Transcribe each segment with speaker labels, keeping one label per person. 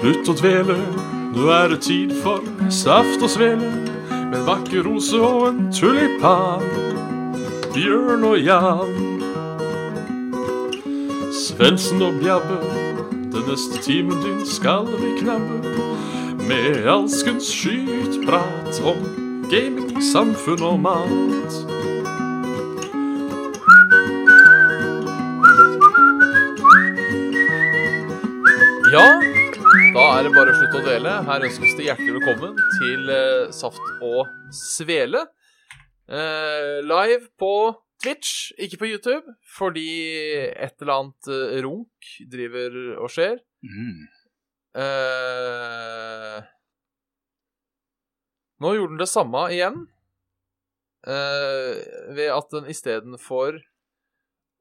Speaker 1: Slutt å dvele, nå er det tid for saft og svele. Med en vakker rose og en tulipan. Bjørn og Jan. Svendsen og Bjabbe, den neste timen din skal vi knabbe. Med alskens skytprat om gaming, samfunn og mat.
Speaker 2: Ja, da er det bare å slutte å dvele. Her ønskes det hjertelig velkommen til eh, Saft og Svele. Eh, live på Twitch, ikke på YouTube, fordi et eller annet eh, runk driver og skjer.
Speaker 3: Mm.
Speaker 2: Eh, nå gjorde den det samme igjen, eh, ved at den istedenfor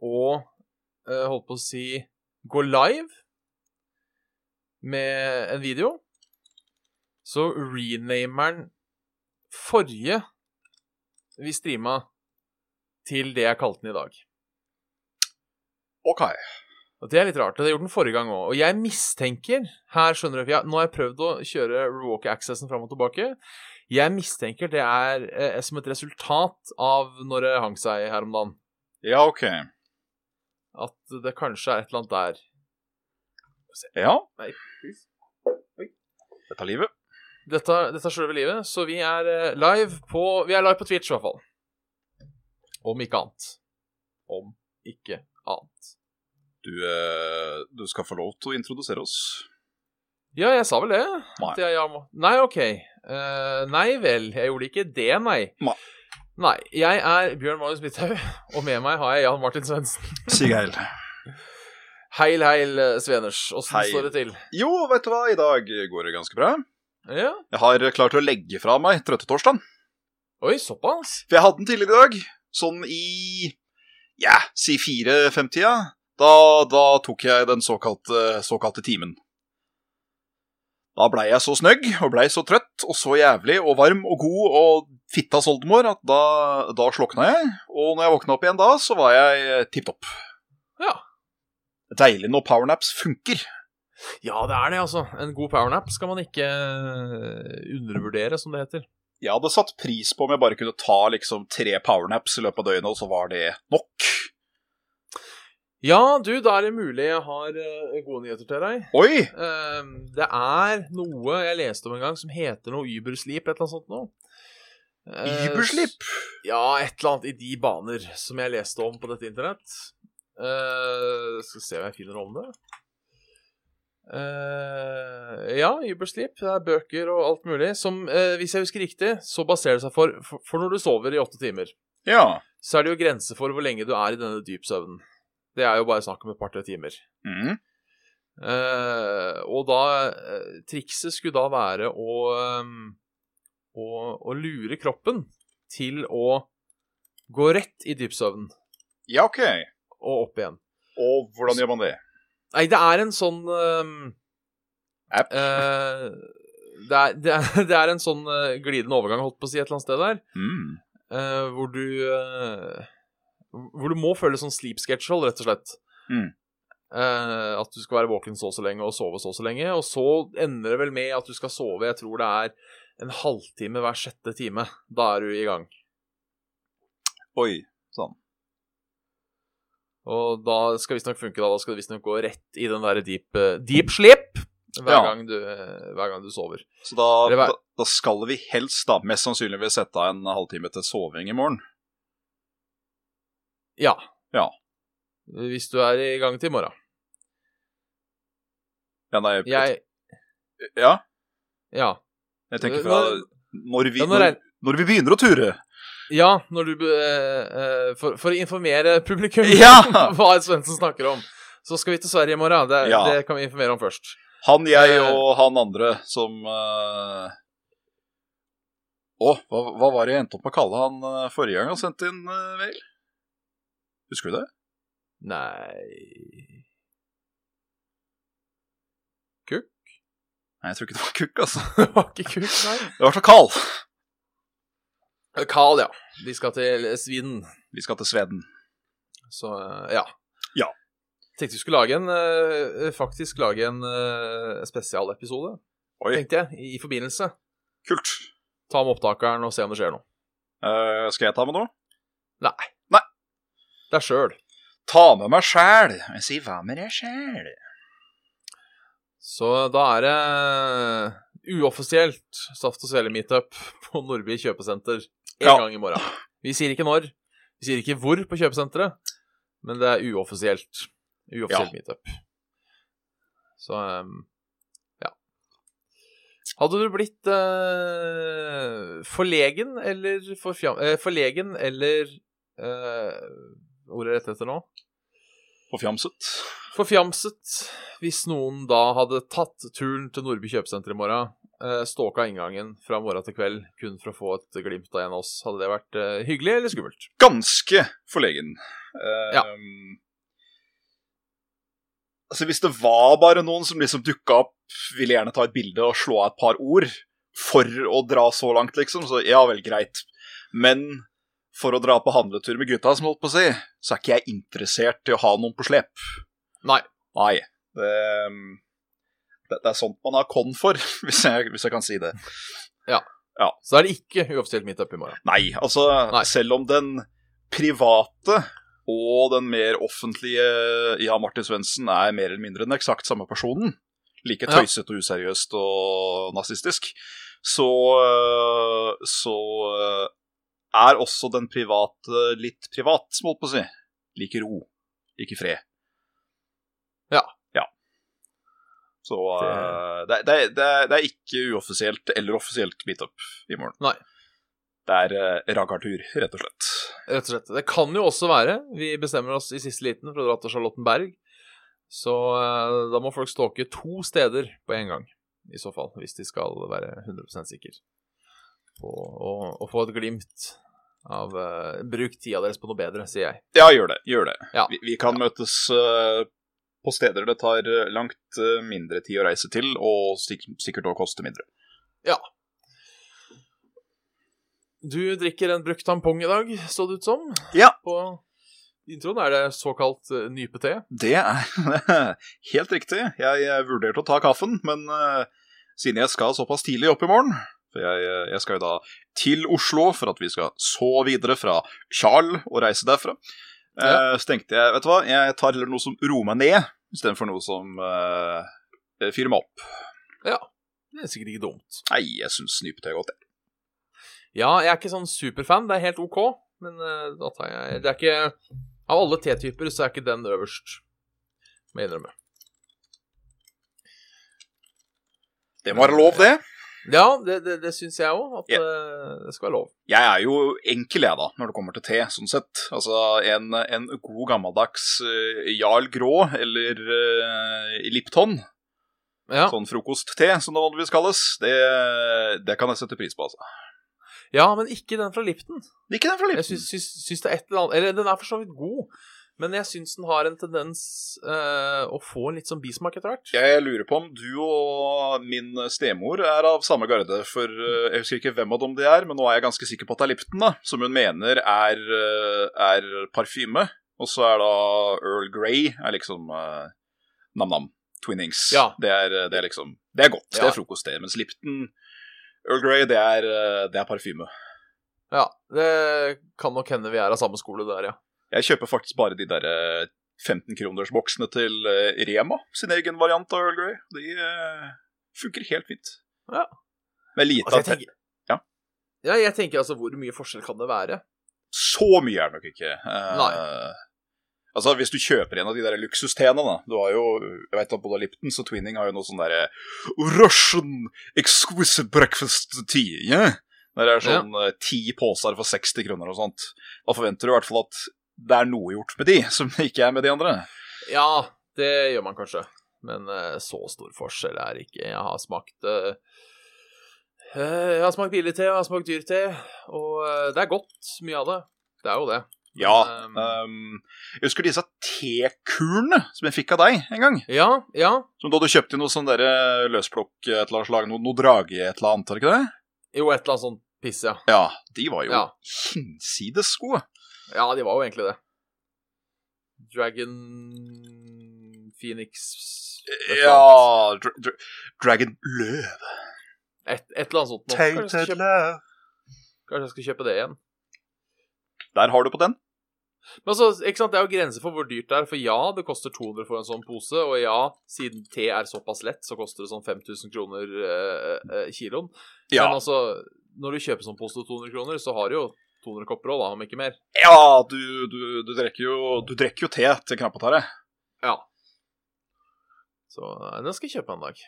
Speaker 2: å eh, holdt på å si gå live med en video, så renamer den forrige vi streama, til det jeg kalte den i dag.
Speaker 3: OK.
Speaker 2: Og Det er litt rart. og Det har jeg gjort den forrige gang òg. Og jeg mistenker Her skjønner du, for jeg, Nå har jeg prøvd å kjøre Rewalk Accessen fram og tilbake. Jeg mistenker det er eh, som et resultat av når det hang seg her om dagen.
Speaker 3: Ja, OK.
Speaker 2: At det kanskje er et eller annet der.
Speaker 3: Ja.
Speaker 2: Nei,
Speaker 3: Dette er livet.
Speaker 2: Dette, dette er sjølve livet. Så vi er eh, live på Vi er live på Twitch, i hvert fall. Om ikke annet. Om ikke annet.
Speaker 3: Du, eh, du skal få lov til å introdusere oss.
Speaker 2: Ja, jeg sa vel det.
Speaker 3: Nei.
Speaker 2: At jeg, ja, må- nei, OK. Eh, nei vel, jeg gjorde ikke det, nei.
Speaker 3: Nei.
Speaker 2: Nei, Jeg er Bjørn Marius Midthaug, og med meg har jeg Jan Martin Svendsen.
Speaker 3: Sigeil.
Speaker 2: Heil, heil, eh, Sveners. Åssen
Speaker 3: Heil.
Speaker 2: står det til?
Speaker 3: Jo, vet du hva, i dag går det ganske bra.
Speaker 2: Ja,
Speaker 3: Jeg har klart å legge fra meg trøttetorsdagen.
Speaker 2: Oi, såpass?
Speaker 3: For jeg hadde den tidligere i dag, sånn i ja, si fire-fem-tida. Da, da tok jeg den såkalte, såkalte timen. Da blei jeg så snøgg og blei så trøtt og så jævlig og varm og god og fittas oldemor at da, da slokna jeg. Og når jeg våkna opp igjen da, så var jeg tipp topp.
Speaker 2: Ja.
Speaker 3: Deilig når powernaps funker.
Speaker 2: Ja, det er det, altså. En god powernap skal man ikke eh, undervurdere, som det heter.
Speaker 3: Jeg hadde satt pris på om jeg bare kunne ta liksom tre powernaps i løpet av døgnet, og så var det nok.
Speaker 2: Ja, du, da er det mulig jeg har eh, gode nyheter til deg.
Speaker 3: Oi!
Speaker 2: Ehm, det er noe jeg leste om en gang som heter noe Ubersleep, et eller annet sånt noe. Eh,
Speaker 3: Ubersleep?
Speaker 2: s- Ja, et eller annet i de baner som jeg leste om på dette internett. Eh, skal se hva jeg finner om det. Eh, ja, Ubersleep. Det er bøker og alt mulig som, eh, hvis jeg husker riktig, så baserer det seg for, for, for når du sover i åtte timer,
Speaker 3: Ja.
Speaker 2: så er det jo grenser for hvor lenge du er i denne dypsøvnen. Det er jo bare snakk om et par-tre timer.
Speaker 3: Mm.
Speaker 2: Eh, og da eh, Trikset skulle da være å, ehm, å Å lure kroppen til å gå rett i dypsøvnen
Speaker 3: Ja, ok.
Speaker 2: og opp igjen.
Speaker 3: Og hvordan gjør man det?
Speaker 2: Nei, det er en sånn ehm,
Speaker 3: App.
Speaker 2: eh, det, er, det, er, det er en sånn eh, glidende overgang, holdt på å si, et eller annet sted der,
Speaker 3: Mm.
Speaker 2: eh, hvor du eh, Hvor du må føle sånn sleep schedule, rett og slett.
Speaker 3: Mm.
Speaker 2: Eh, at du skal være våken så og så lenge og sove så og så lenge. Og så ender det vel med at du skal sove, jeg tror det er en halvtime hver sjette time. Da er du i gang.
Speaker 3: Oi.
Speaker 2: Og da skal visstnok funke, da. Da skal det visstnok gå rett i den derre deep, eh, deep sleep hver,
Speaker 3: Ja.
Speaker 2: gang du, eh, hver gang du sover.
Speaker 3: Så da,
Speaker 2: Eller hva-
Speaker 3: da, da skal vi helst, da, mest sannsynligvis sette av en halvtime til soving i morgen.
Speaker 2: Ja.
Speaker 3: Ja.
Speaker 2: Hvis du er i gang til i morgen.
Speaker 3: Ja, nei,
Speaker 2: Jeg
Speaker 3: ja,
Speaker 2: Ja.
Speaker 3: jeg tenker fra
Speaker 2: Når-
Speaker 3: når vi,
Speaker 2: Ja, når
Speaker 3: når,
Speaker 2: jeg-
Speaker 3: når vi begynner å ture.
Speaker 2: Ja, når du be- eh, eh, for, for å informere publikum
Speaker 3: Ja!
Speaker 2: om hva Svendsen snakker om, så skal vi til Sverige i morgen. Det,
Speaker 3: Ja.
Speaker 2: det kan vi informere om først.
Speaker 3: Han, jeg
Speaker 2: Eh.
Speaker 3: og han andre som eh, Å, hva, hva var det jeg endte opp med å kalle han eh, forrige gang han sendte inn eh, mail? Husker du det?
Speaker 2: Nei
Speaker 3: Nei, jeg tror ikke det var Kukk, altså.
Speaker 2: Det var ikke kult, nei.
Speaker 3: Det var så Karl.
Speaker 2: Carl, ja. De skal til Sviden,
Speaker 3: Vi skal til Sveden.
Speaker 2: så eh, ja.
Speaker 3: Ja.
Speaker 2: Tenkte vi skulle lage en, eh, faktisk lage en eh, spesialepisode,
Speaker 3: Oi,
Speaker 2: tenkte jeg, i, i forbindelse.
Speaker 3: kult.
Speaker 2: Ta med opptakeren og se om det skjer noe.
Speaker 3: Eh, skal jeg ta med noe?
Speaker 2: Det er sjøl.
Speaker 3: Ta med meg sjæl. Jeg sier hva med deg sjæl?
Speaker 2: Så da er det uoffisielt Saft og Svele meetup på Nordby kjøpesenter en
Speaker 3: Ja.
Speaker 2: gang i morgen. Vi sier ikke når, vi sier ikke hvor på kjøpesenteret, men det er uoffisielt. Uoffisielt meetup. Så ehm, ja. Hadde du blitt eh, forlegen eller forfjam... eh, forlegen eller eh, Ordet er rett etter nå?
Speaker 3: Forfjamset.
Speaker 2: Forfjamset hvis noen da hadde tatt turen til Nordby kjøpesenter i morgen, eh, stalka inngangen fra morgen til kveld kun for å få et glimt av en av oss. Hadde det vært eh, hyggelig eller skummelt?
Speaker 3: Ganske forlegen. Eh,
Speaker 2: Ja.
Speaker 3: Altså, hvis det var bare noen som liksom dukka opp, ville gjerne ta et bilde og slå av et par ord, for å dra så langt, liksom, så ja vel, greit. Men for å dra på handletur med gutta, som jeg holdt på å si, så er ikke jeg interessert i å ha noen på slep.
Speaker 2: Nei.
Speaker 3: Nei. Det, ehm, det, det er sånt man har kon for, hvis jeg, hvis jeg kan si det.
Speaker 2: Så da er det ikke uoffisielt meetup i morgen.
Speaker 3: Nei, altså
Speaker 2: Nei.
Speaker 3: selv om den private og den mer offentlige Ja, Martin Svendsen er mer eller mindre den eksakt samme personen. Like
Speaker 2: Ja.
Speaker 3: tøysete og useriøst og nazistisk. Så øh, Så øh, er også den private litt privat, som holdt på å si. Like ro, like fred.
Speaker 2: Ja.
Speaker 3: Ja. Så øh, det, det, det, det er ikke uoffisielt eller offisielt meetup i morgen.
Speaker 2: Nei.
Speaker 3: Det er uh, raggartur, rett og slett.
Speaker 2: Rett og slett. Det kan jo også være. Vi bestemmer oss i siste liten for å dra til Charlottenberg. Så eh, da må folk stalke to steder på en gang, i så fall. Hvis de skal være 100 sikre. Og, og få et glimt av eh, Bruk tida deres på noe bedre, sier jeg.
Speaker 3: Ja, gjør det. gjør det.
Speaker 2: Ja.
Speaker 3: Vi, vi kan møtes eh, på steder det tar eh, langt eh, mindre tid å reise til, og sik sikkert også koste mindre.
Speaker 2: Du drikker en brukt tampong i dag, så det ut som.
Speaker 3: Ja.
Speaker 2: På introen er det såkalt eh, nypete.
Speaker 3: Det er helt riktig. Jeg eh, vurderte å ta kaffen, men eh, siden jeg skal såpass tidlig opp i morgen for jeg, eh, jeg skal jo da til Oslo for at vi skal så videre fra Tjarl og reise derfra. eh, så tenkte jeg, vet du hva, jeg tar heller noe som roer meg ned, istedenfor noe som eh, fyrer meg opp.
Speaker 2: Det er sikkert ikke dumt.
Speaker 3: Nei, jeg syns snypete er godt. jeg.
Speaker 2: Ja, jeg er ikke sånn superfan. Det er helt OK, men eh, da tar jeg Det er ikke Av alle T-typer så er ikke den øverst, må jeg innrømme.
Speaker 3: Det må være lov, det.
Speaker 2: Ja, det, det, det syns jeg òg, at
Speaker 3: Ja.
Speaker 2: eh, det skal være lov.
Speaker 3: Jeg er jo enkel, jeg, da, når det kommer til te, sånn sett. Altså, en, en god gammeldags eh, Jarl Grå eller uh, Lipton,
Speaker 2: Ja.
Speaker 3: sånn frokostte som det vanligvis kalles, det, det kan jeg sette pris på, altså.
Speaker 2: ja, men ikke den fra Lipton.
Speaker 3: Ikke den fra
Speaker 2: Jeg
Speaker 3: Lipton.
Speaker 2: syns, syns, syns det er et eller annet Eller den er for så vidt god, men jeg syns den har en tendens eh, å få en litt sånn bismak etter hvert.
Speaker 3: Jeg lurer på om du og min stemor er av samme garde, for eh, jeg husker ikke hvem av dem de er, men nå er jeg ganske sikker på at det er Lipton, da, som hun mener er, eh, er parfyme. Og så er da Earl Grey er liksom eh, nam-nam. Twinnings.
Speaker 2: Ja.
Speaker 3: Det, er, eh, det er liksom Det er godt, det
Speaker 2: Ja.
Speaker 3: er frokost, det. Mens Lipton Earl Grey, det er, eh, det er parfyme.
Speaker 2: Ja, det kan nok hende vi er av samme skole der, ja.
Speaker 3: Jeg kjøper faktisk bare de derre 15-kronersboksene til eh, Rema, sin egen variant av Earl Grey. De eh, funker helt fint.
Speaker 2: Ja.
Speaker 3: Med lite
Speaker 2: Altså, jeg
Speaker 3: av te.
Speaker 2: tenker,
Speaker 3: Ja.
Speaker 2: ja, jeg tenker altså hvor mye forskjell kan det være?
Speaker 3: Så mye er det nok ikke. Eh,
Speaker 2: Nei.
Speaker 3: Altså, Hvis du kjøper en av de der luksustena, da Du har jo jeg vet at både Liptons og Twinning har jo noe sånn derre Russian exquisite breakfast tea. Yeah? Der er sånn eh, ti poser for 60 kroner og sånt. Da forventer du i hvert fall at det er noe gjort med de, som det ikke er med de andre.
Speaker 2: Ja, det gjør man kanskje. Men eh, så stor forskjell er det ikke. Jeg har smakt eh, eh, Jeg har smakt billig te, og jeg har smakt dyr te, og eh, det er godt, mye av det. Det er jo det.
Speaker 3: Ja.
Speaker 2: Um,
Speaker 3: ehm, jeg husker disse tekulene som jeg fikk av deg en gang.
Speaker 2: Ja, ja.
Speaker 3: Som da du kjøpte noe sånn derre løsplukk et eller annet slag, noe, noe drage et eller annet, var det ikke det?
Speaker 2: Jo, et eller annet sånt piss, ja.
Speaker 3: Ja. De var jo
Speaker 2: Ja.
Speaker 3: hinsides gode.
Speaker 2: Ja, de var jo egentlig det. Dragon Phoenix
Speaker 3: Ja dra dra Dragon Løv.
Speaker 2: Et, et eller annet sånt. nå. Kanskje jeg, skal
Speaker 3: Tainted
Speaker 2: kjøpe,
Speaker 3: Love.
Speaker 2: kanskje jeg skal kjøpe det igjen.
Speaker 3: Der har du på den.
Speaker 2: Men altså, ikke sant, Det er jo grenser for hvor dyrt det er. For ja, det koster 200 for en sånn pose. Og ja, siden te er såpass lett, så koster det sånn 5000 kroner eh, eh, kiloen.
Speaker 3: Ja,
Speaker 2: Men altså, når du kjøper sånn pose til 200 kroner, så har du jo 200 kopper òg, da, om ikke mer.
Speaker 3: ja du, du, du, drikker jo, du drikker jo te til knappetare.
Speaker 2: Ja. Så eh, den skal jeg kjøpe en dag.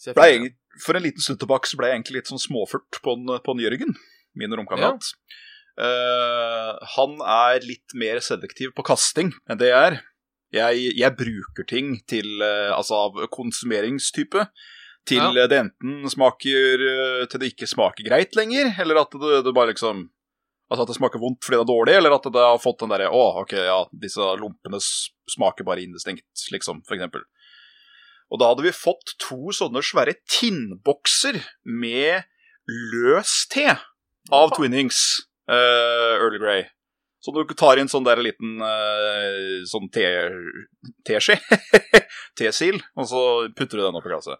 Speaker 2: Hvis jeg
Speaker 3: Ble
Speaker 2: finner den.
Speaker 3: egentlig- For en liten stund tilbake så ble jeg egentlig litt sånn småfurt på, en, på en Jørgen, min romkamerat. Eh, han er litt mer selektiv på kasting enn det jeg er. Jeg, jeg bruker ting til eh, Altså av konsumeringstype. Til
Speaker 2: Ja.
Speaker 3: eh, det enten smaker eh, Til det ikke smaker greit lenger, eller at det, det bare liksom Altså at det smaker vondt fordi det er dårlig, eller at det har fått den derre Å, ok, ja, disse lompene s- smaker bare indistinkt, liksom, for eksempel. Og da hadde vi fått to sånne svære tinnbokser med løs te av Twinnings eh, Earl Grey. Så du tar inn sånn der liten eh, sånn te teskje, tesil, og så putter du den oppi glasset.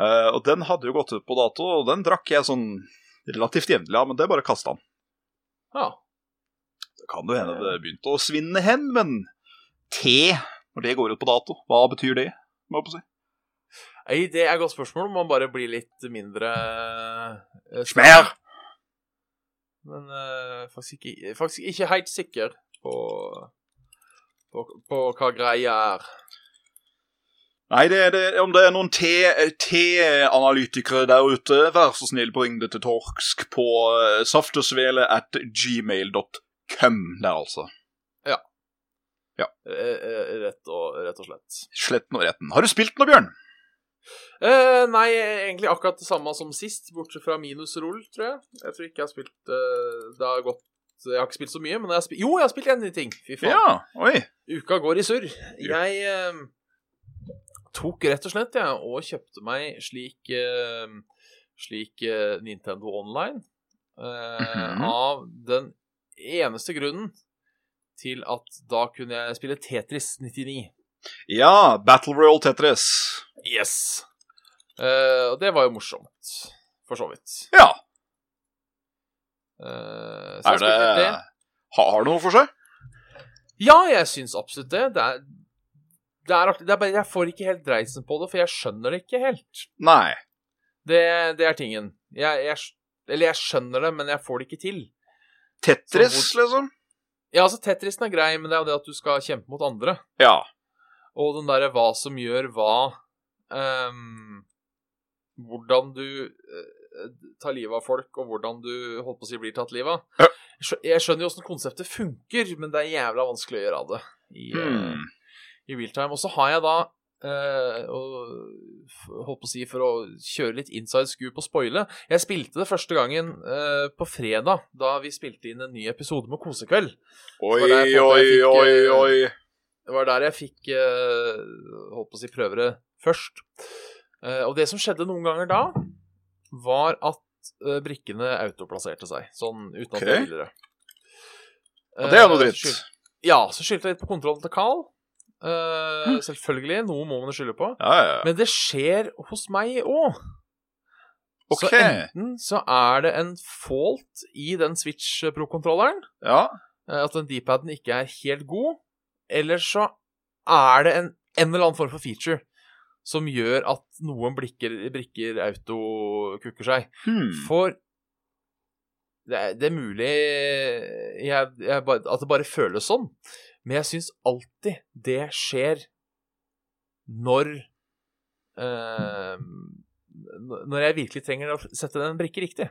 Speaker 3: Eh, og den hadde jo gått ut på dato, og den drakk jeg sånn relativt jevnlig av, men det bare kasta han.
Speaker 2: Ja.
Speaker 3: Det kan jo hende det begynte å svinne hen, men te, når det går ut på dato, hva betyr det? Må jeg på å si.
Speaker 2: Nei, det er et godt spørsmål. Man bare blir litt mindre eh,
Speaker 3: Smær!
Speaker 2: Men eh, faktisk, ikke, faktisk ikke helt sikker på, på, på hva greia er.
Speaker 3: Nei, det, det, om det er noen te- te-analytikere der ute, vær så snill bring det til torsk på eh, saftosvele at gmail.com der, altså.
Speaker 2: eh, eh, Rett og, rett og slett.
Speaker 3: Slett nå retten. Har du spilt noe, Bjørn?
Speaker 2: Eh, nei, egentlig akkurat det samme som sist, bortsett fra minusrull, tror jeg. Jeg tror ikke jeg har spilt eh, Det har gått Jeg har ikke spilt så mye, men jeg har spilt Jo, jeg har spilt én ting! Fy faen.
Speaker 3: Oi.
Speaker 2: Uka går i surr. Jeg eh, tok rett og slett jeg, og kjøpte meg slik, eh, slik eh, Nintendo Online eh,
Speaker 3: Mhm.
Speaker 2: av den eneste grunnen til at da kunne jeg spille Tetris 99.
Speaker 3: Ja, Battle Royal Tetris.
Speaker 2: Yes! Eh, og det var jo morsomt, for så vidt.
Speaker 3: Ja.
Speaker 2: Eh, så jeg
Speaker 3: Er det
Speaker 2: spilte det.
Speaker 3: Ha- Har det noe for seg?
Speaker 2: Ja, jeg syns absolutt det. Det er, det er artig. Det er bare, jeg får ikke helt dreisen på det, for jeg skjønner det ikke helt.
Speaker 3: Nei.
Speaker 2: Det, det er tingen. Jeg, jeg, eller jeg skjønner det, men jeg får det ikke til.
Speaker 3: Tetris,
Speaker 2: Så
Speaker 3: liksom?
Speaker 2: Ja, altså Tetrisen er grei, men det er jo det at du skal kjempe mot andre.
Speaker 3: Ja.
Speaker 2: Og den derre hva som gjør hva ehm, Hvordan du eh, tar livet av folk, og hvordan du holdt på å si blir tatt livet av.
Speaker 3: Ja.
Speaker 2: Jeg skjø- Jeg skjønner jo åssen konseptet funker, men det er jævla vanskelig å gjøre av det i, eh,
Speaker 3: Hmm.
Speaker 2: i real time. Og så har jeg da eh, og, f- holdt på å si for å kjøre litt inside scoop og spoile. Jeg spilte det første gangen eh, på fredag, da vi spilte inn en ny episode med Kosekveld.
Speaker 3: Oi,
Speaker 2: Så det er på en måte
Speaker 3: oi,
Speaker 2: jeg fikk,
Speaker 3: oi,
Speaker 2: eh,
Speaker 3: oi.
Speaker 2: Det var der jeg fikk eh, holdt på å si prøve det først. Eh, og det som skjedde noen ganger da, var at eh, brikkene autoplasserte seg. Sånn uten at
Speaker 3: Ok.
Speaker 2: jeg ville det.
Speaker 3: Og det er jo noe
Speaker 2: Eh,
Speaker 3: dritt.
Speaker 2: skyld- Ja, så skyldte jeg litt på kontrollen til Carl. Eh,
Speaker 3: Hm.
Speaker 2: Selvfølgelig. Noe må man skylde på.
Speaker 3: Ja, ja, ja.
Speaker 2: Men det skjer hos meg òg. Så
Speaker 3: Ok.
Speaker 2: enten så er det en fault i den Switch Pro-kontrolleren,
Speaker 3: Ja.
Speaker 2: eh, at den D-paden ikke er helt god, eller så er det en, en eller annen form for feature som gjør at noen blikker, brikker autokukker seg.
Speaker 3: Hmm.
Speaker 2: For det er, det er mulig eh, jeg, jeg, bare- at det bare føles sånn, men jeg syns alltid det skjer når eh, n- Når jeg virkelig trenger å sette den brikke riktig.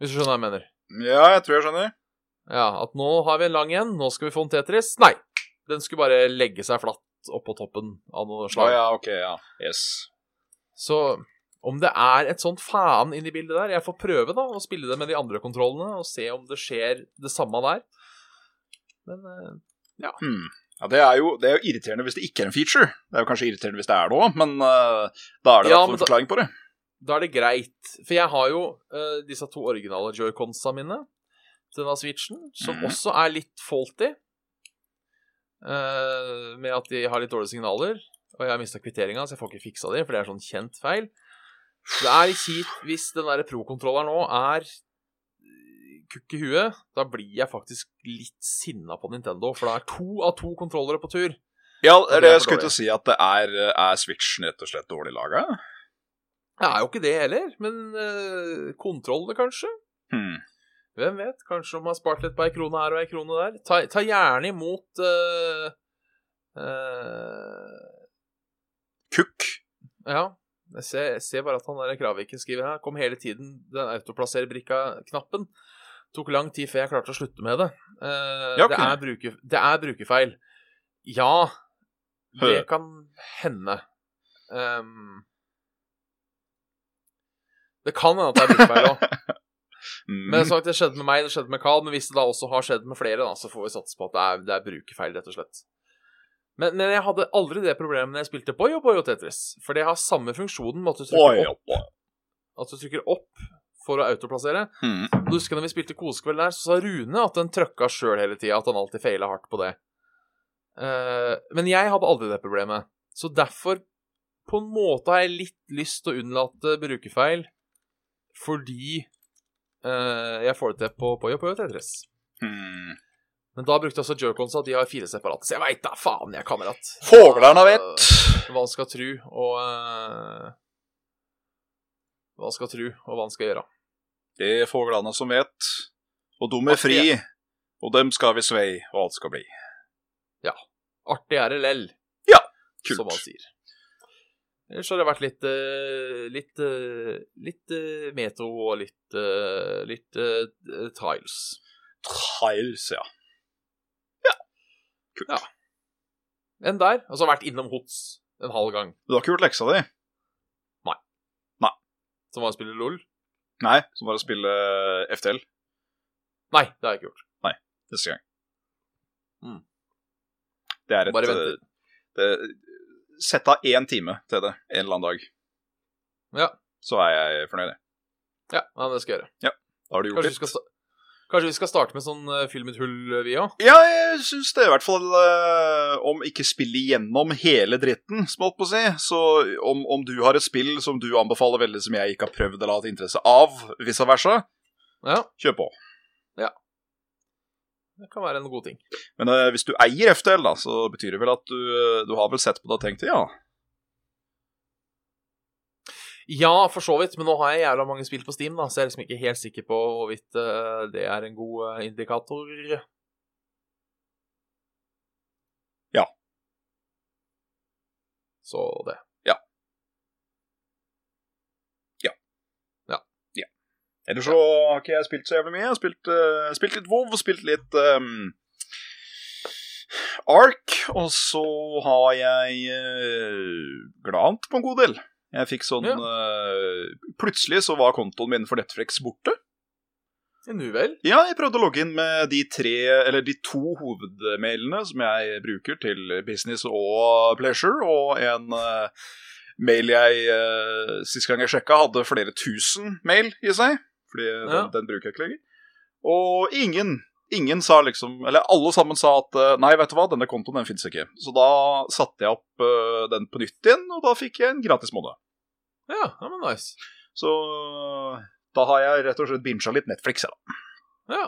Speaker 2: Hvis du skjønner hva jeg mener?
Speaker 3: Ja, jeg tror jeg skjønner.
Speaker 2: Ja, At nå har vi en lang en, nå skal vi få en Tetris. Nei! Den skulle bare legge seg flatt oppå toppen av noe
Speaker 3: Å
Speaker 2: slag.
Speaker 3: ja, ok, ja. Yes.
Speaker 2: Så om det er et sånt faen inni bildet der Jeg får prøve da å spille det med de andre kontrollene og se om det skjer det samme der. Men eh,
Speaker 3: Hmm. Ja, det er, jo, det er jo irriterende hvis det ikke er en feature. Det er jo kanskje irriterende hvis det er det òg, men eh, da er det i
Speaker 2: Ja,
Speaker 3: hvert fall
Speaker 2: men
Speaker 3: en
Speaker 2: da-
Speaker 3: forklaring på det.
Speaker 2: da er det greit. For jeg har jo eh, disse to originale joyconsa mine til denne switchen, som
Speaker 3: Mhm.
Speaker 2: også er litt faulty. eh, med at de har litt dårlige signaler. Og jeg har mista kvitteringa, så jeg får ikke fiksa det, for det er sånn kjent feil. Det er litt kjipt hvis den der pro-kontrolleren nå er kukk i huet. Da blir jeg faktisk litt sinna på Nintendo, for det er to av to kontrollere på tur.
Speaker 3: Ja, det
Speaker 2: Ja,
Speaker 3: er det
Speaker 2: det er
Speaker 3: jeg
Speaker 2: for
Speaker 3: skulle
Speaker 2: dårlig.
Speaker 3: til å si, at det er, eh, er Switchen rett og slett dårlig laga.
Speaker 2: Det er jo ikke det heller, men eh, kontrollene, kanskje?
Speaker 3: Hmm.
Speaker 2: Hvem vet? Kanskje de har spart litt på ei krone her og ei krone der. Ta, ta gjerne imot eh, eh,
Speaker 3: Kukk.
Speaker 2: Ja. Jeg ser, jeg ser bare at han der Kraviken skriver her. Kom hele tiden den autoplasserbrikka-knappen. Tok lang tid før jeg klarte å slutte med det. Eh,
Speaker 3: Ja, ok.
Speaker 2: det, er bruker, det er brukerfeil. Ja, det kan hende. Ehm, det kan hende at det er brukerfeil òg.
Speaker 3: Mm.
Speaker 2: Men som sagt, det skjedde med meg, det skjedde med Carl, men hvis det da også har skjedd med flere, da, så får vi satse på at det er, det er brukerfeil, rett og slett. Men, men jeg hadde aldri det problemet når jeg spilte Boy og Boy og Tetris, for det har samme funksjonen med at du
Speaker 3: Oi,
Speaker 2: trykker opp,
Speaker 3: oi.
Speaker 2: at du trykker opp for å autoplassere.
Speaker 3: Hmm.
Speaker 2: Og Du husker når vi spilte Kosekveld der, så sa Rune at den trøkka sjøl hele tida, at han alltid feila hardt på det. Eh, men jeg hadde aldri det problemet, så derfor på en måte har jeg litt lyst til å unnlate brukerfeil, fordi eh, jeg får det til på Poyo Poyo Tetris.
Speaker 3: Hmm.
Speaker 2: Men da brukte altså Jerkons at de har fire separate, så jeg veit da faen, jeg, kamerat.
Speaker 3: Foglerna vet.
Speaker 2: Hva han skal tru, og eh, Hva han skal tru, og hva han skal gjøre.
Speaker 3: Det er foglerna som vet. Og dum er fri. Og dem skal vi svei, og alt skal bli.
Speaker 2: Artig er det lell. som han
Speaker 3: Kult.
Speaker 2: sier. Ellers har det vært litt eh, litt eh, litt eh, metro og litt eh, litt eh, tiles.
Speaker 3: Tiles, ja.
Speaker 2: Enn der. Og så har jeg vært innom Hots en halv gang,
Speaker 3: Du har ikke gjort leksa di?
Speaker 2: som var å spille LOL.
Speaker 3: Nei, som var å spille eh, FTL
Speaker 2: Nei, det har jeg ikke gjort.
Speaker 3: neste gang.
Speaker 2: Mm.
Speaker 3: Hmm. Det er et
Speaker 2: Bare vent
Speaker 3: eh, det, Sett av én time til det en eller annen dag.
Speaker 2: Ja.
Speaker 3: Så er jeg fornøyd. jeg.
Speaker 2: Ja, men det skal jeg gjøre.
Speaker 3: Da har du gjort
Speaker 2: Kanskje vi
Speaker 3: litt.
Speaker 2: skal, sta Kanskje vi skal starte med sånn uh, fyll mitt hull, vi òg?
Speaker 3: Ja, jeg syns det. I hvert fall eh, om ikke spille gjennom hele dritten, som jeg holdt på å si. Så om, om du har et spill som du anbefaler veldig, som jeg ikke har prøvd eller hatt interesse av, vice versa,
Speaker 2: Ja,
Speaker 3: kjør på.
Speaker 2: det kan være en god ting.
Speaker 3: Men eh, hvis du eier FTL, da, så betyr det vel at du, eh, du har vel sett på det og tenkt ja.
Speaker 2: Ja, for så vidt, men nå har jeg jævla mange spill på Steam, da, så jeg er liksom ikke helt sikker på hvorvidt eh, det er en god eh, indikator.
Speaker 3: Ja.
Speaker 2: Så det.
Speaker 3: Ja. Ja.
Speaker 2: Ja.
Speaker 3: Ellers så har ikke jeg spilt så jævlig mye. Jeg har spilt, eh, spilt litt WoW, spilt litt ehm, Ark, og så har jeg uh, glant på en god del. Jeg fikk sånn
Speaker 2: Ja.
Speaker 3: eh, Plutselig så var kontoen min for Netflix borte.
Speaker 2: Nu vel.
Speaker 3: Ja, jeg prøvde å logge inn med de, tre, eller de to hovedmailene som jeg bruker til business og pleasure, og en eh, mail jeg uh, sist gang jeg sjekka, hadde flere tusen mail i seg. Fordi den,
Speaker 2: Ja.
Speaker 3: den bruker jeg ikke lenger. Og ingen ingen sa liksom Eller alle sammen sa at eh, nei, vet du hva, denne kontoen den fins ikke. Så da satte jeg opp eh, den på nytt igjen, og da fikk jeg en gratis måned.
Speaker 2: Ja, ja, men nice.
Speaker 3: Så da har jeg rett og slett bincha litt Netflix, jeg, da.
Speaker 2: Ja.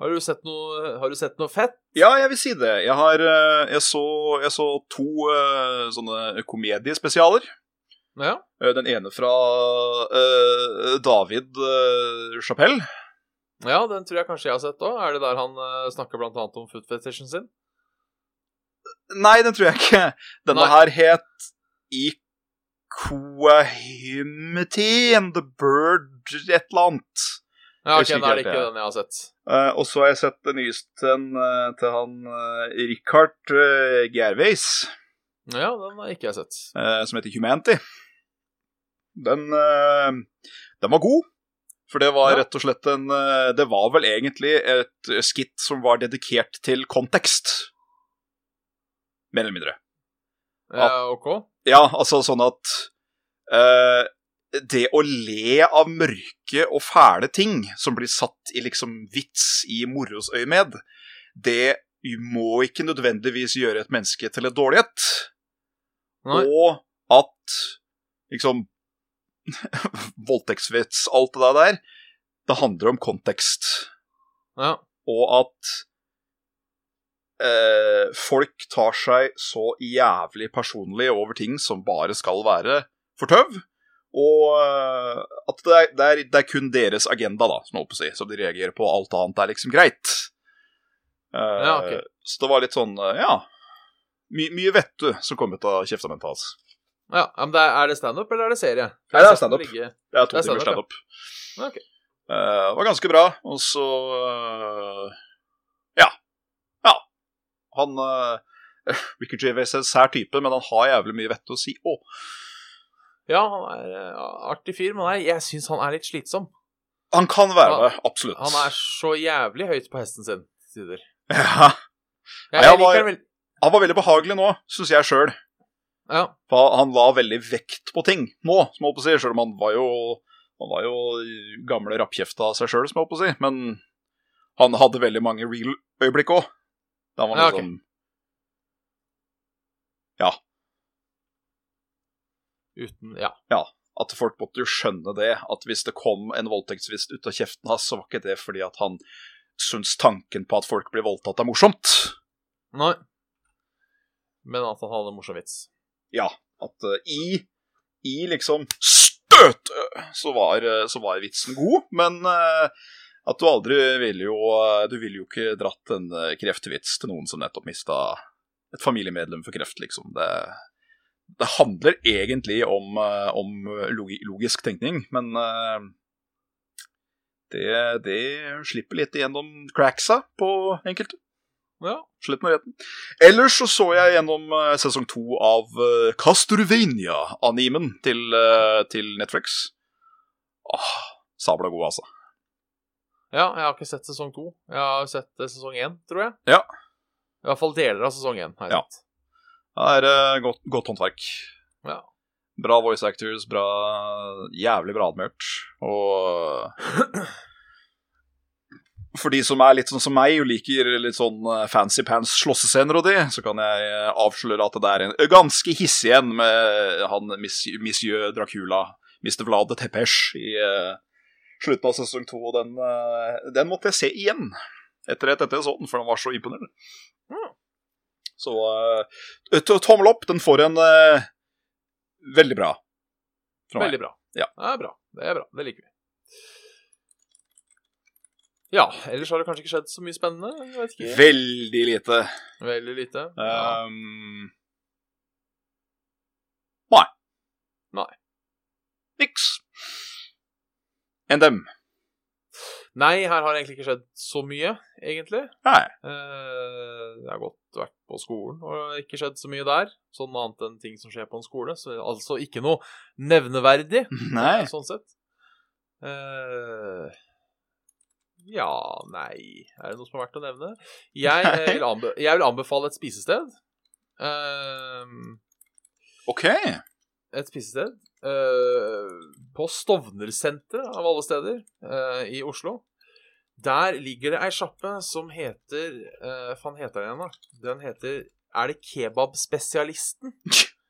Speaker 2: Har du sett noe, har du sett noe fett?
Speaker 3: Ja, jeg vil si det. Jeg, har, eh, jeg, så, jeg så to eh, sånne komediespesialer.
Speaker 2: Ja.
Speaker 3: Eh, Den ene fra eh, David uh, Chapelle.
Speaker 2: ja, den tror jeg kanskje jeg har sett òg. Er det der han eh, snakker blant annet om foot fetishen sin?
Speaker 3: Nei, den tror jeg ikke. Denne
Speaker 2: Nei.
Speaker 3: her het Equahimity and the Bird et eller annet.
Speaker 2: Ja, ok,
Speaker 3: Husker ikke
Speaker 2: da er det
Speaker 3: helt,
Speaker 2: ikke
Speaker 3: ja.
Speaker 2: den jeg har sett.
Speaker 3: Eh, og så har jeg sett det nyeste en, eh, til han eh, Richard eh, Gervais,
Speaker 2: Ja, den har ikke jeg sett.
Speaker 3: eh, som heter Humanity. Den, eh, den var god. For det var
Speaker 2: Ja.
Speaker 3: rett og slett en eh, Det var vel egentlig et skitt som var dedikert til kontekst. Mer eller mindre.
Speaker 2: Ja, OK?
Speaker 3: Ja, altså sånn at eh, Det å le av mørke og fæle ting som blir satt i liksom vits i morosøyemed, det vi må ikke nødvendigvis gjøre et menneske til et dårlig et.
Speaker 2: Nei.
Speaker 3: Og at liksom Voldtektsvits, alt det der, det handler om kontekst.
Speaker 2: Ja.
Speaker 3: Og at eh, folk tar seg så jævlig personlig over ting som bare skal være for tøv. Og eh, at det er, det, er, det er kun deres agenda, da, som, jeg holdt på å si, som de reagerer på. Alt annet er liksom greit. Eh,
Speaker 2: Ja, ok.
Speaker 3: Så det var litt sånn, eh, ja my, Mye vett du som kom ut av kjeftamentet hans.
Speaker 2: ja. ja men det er, er det standup, eller er det serie? For
Speaker 3: Nei, det er
Speaker 2: jeg har sett
Speaker 3: standup.
Speaker 2: den ligge-
Speaker 3: Det
Speaker 2: Det
Speaker 3: er to
Speaker 2: er
Speaker 3: timers
Speaker 2: standup,
Speaker 3: standup.
Speaker 2: Ja, ok.
Speaker 3: Eh, det var ganske bra, og så eh, Ja. Ja. Han uh, Ricky Javis er en sær type, men han har jævlig mye vett å si òg.
Speaker 2: Ja, han er eh, artig fyr, men nei, jeg syns han er litt slitsom.
Speaker 3: Han kan være
Speaker 2: Ja,
Speaker 3: det, absolutt.
Speaker 2: Han er så jævlig høyt på hesten sin til tider.
Speaker 3: ja.
Speaker 2: Jeg,
Speaker 3: Nei, han
Speaker 2: jeg liker
Speaker 3: var-
Speaker 2: han vel...
Speaker 3: Han var veldig behagelig nå, syns jeg sjøl.
Speaker 2: Ja.
Speaker 3: Han la veldig vekt på ting nå, som jeg holdt på å si, sjøl om han var jo han var jo gamle rappkjefta av seg sjøl, som jeg holdt på å si. Men han hadde veldig mange real øyeblikk òg. Da var han
Speaker 2: Ja, ok.
Speaker 3: liksom
Speaker 2: Uten Ja.
Speaker 3: at folk måtte jo skjønne det, at hvis det kom en voldtektsvist ut av kjeften hans, så var ikke det fordi at han syns tanken på at folk blir voldtatt er morsomt.
Speaker 2: Nei. Men at han hadde en morsom vits.
Speaker 3: Ja, at eh, i, i liksom støt, eh, så var, eh, så var vitsen god, men eh, at du aldri ville jo eh, Du ville jo ikke dratt en eh, kreftvits til noen som nettopp mista et familiemedlem for kreft, liksom. Det, det handler egentlig om, eh, om logi logisk tenkning, men eh, det, det slipper litt igjennom cracksa på enkelte.
Speaker 2: Ja.
Speaker 3: Slutt med retten. Ellers så så jeg gjennom eh, sesong to av uh, Castorvania-animen til, eh, til Netflix. Åh, sabla god, altså.
Speaker 2: Ja, jeg har ikke sett sesong to. Jeg har sett eh, sesong én, tror jeg.
Speaker 3: Ja.
Speaker 2: I hvert fall deler av sesong én. har jeg
Speaker 3: Ja.
Speaker 2: sett.
Speaker 3: Det er eh, godt, godt håndverk.
Speaker 2: Ja.
Speaker 3: Bra voice actors, bra Jævlig bra admurt. Og For de som er litt sånn som meg og liker litt sånn eh, fancy pants slåssescener og de, så kan jeg eh, avsløre at det er en ganske hissig en med han Miss- Monsieur Dracula, Mr. Vlad Tepesh, i eh, slutten av sesong to, og den, eh, den måtte jeg se igjen etter at jeg så den, for den var så imponerende. Så eh, t- tommel opp, den får en eh, veldig bra. Fra meg.
Speaker 2: Veldig bra.
Speaker 3: Ja.
Speaker 2: Det er bra. Det er bra. Det liker vi. Ja, ellers har det kanskje ikke skjedd så mye spennende. Jeg vet ikke.
Speaker 3: Veldig lite.
Speaker 2: Veldig lite. Ja.
Speaker 3: Ehm, Nei.
Speaker 2: Nei.
Speaker 3: Niks. Enn dem.
Speaker 2: Nei, her har det egentlig ikke skjedd så mye, egentlig.
Speaker 3: Nei.
Speaker 2: Eh, Jeg har godt vært på skolen og ikke skjedd så mye der. Sånn annet enn ting som skjer på en skole. Så altså ikke noe nevneverdig, eh, sånn sett. Eh, ja, nei Er det noe som er verdt å nevne? Jeg, eh,
Speaker 3: Nei.
Speaker 2: vil, anbe jeg vil anbefale et spisested. Eh,
Speaker 3: OK.
Speaker 2: et spisested eh, på Stovner-senteret, av alle steder, eh, i Oslo. Der ligger det ei sjappe som heter uh, Faen, heter den igjen, da? Den heter Er det Kebabspesialisten?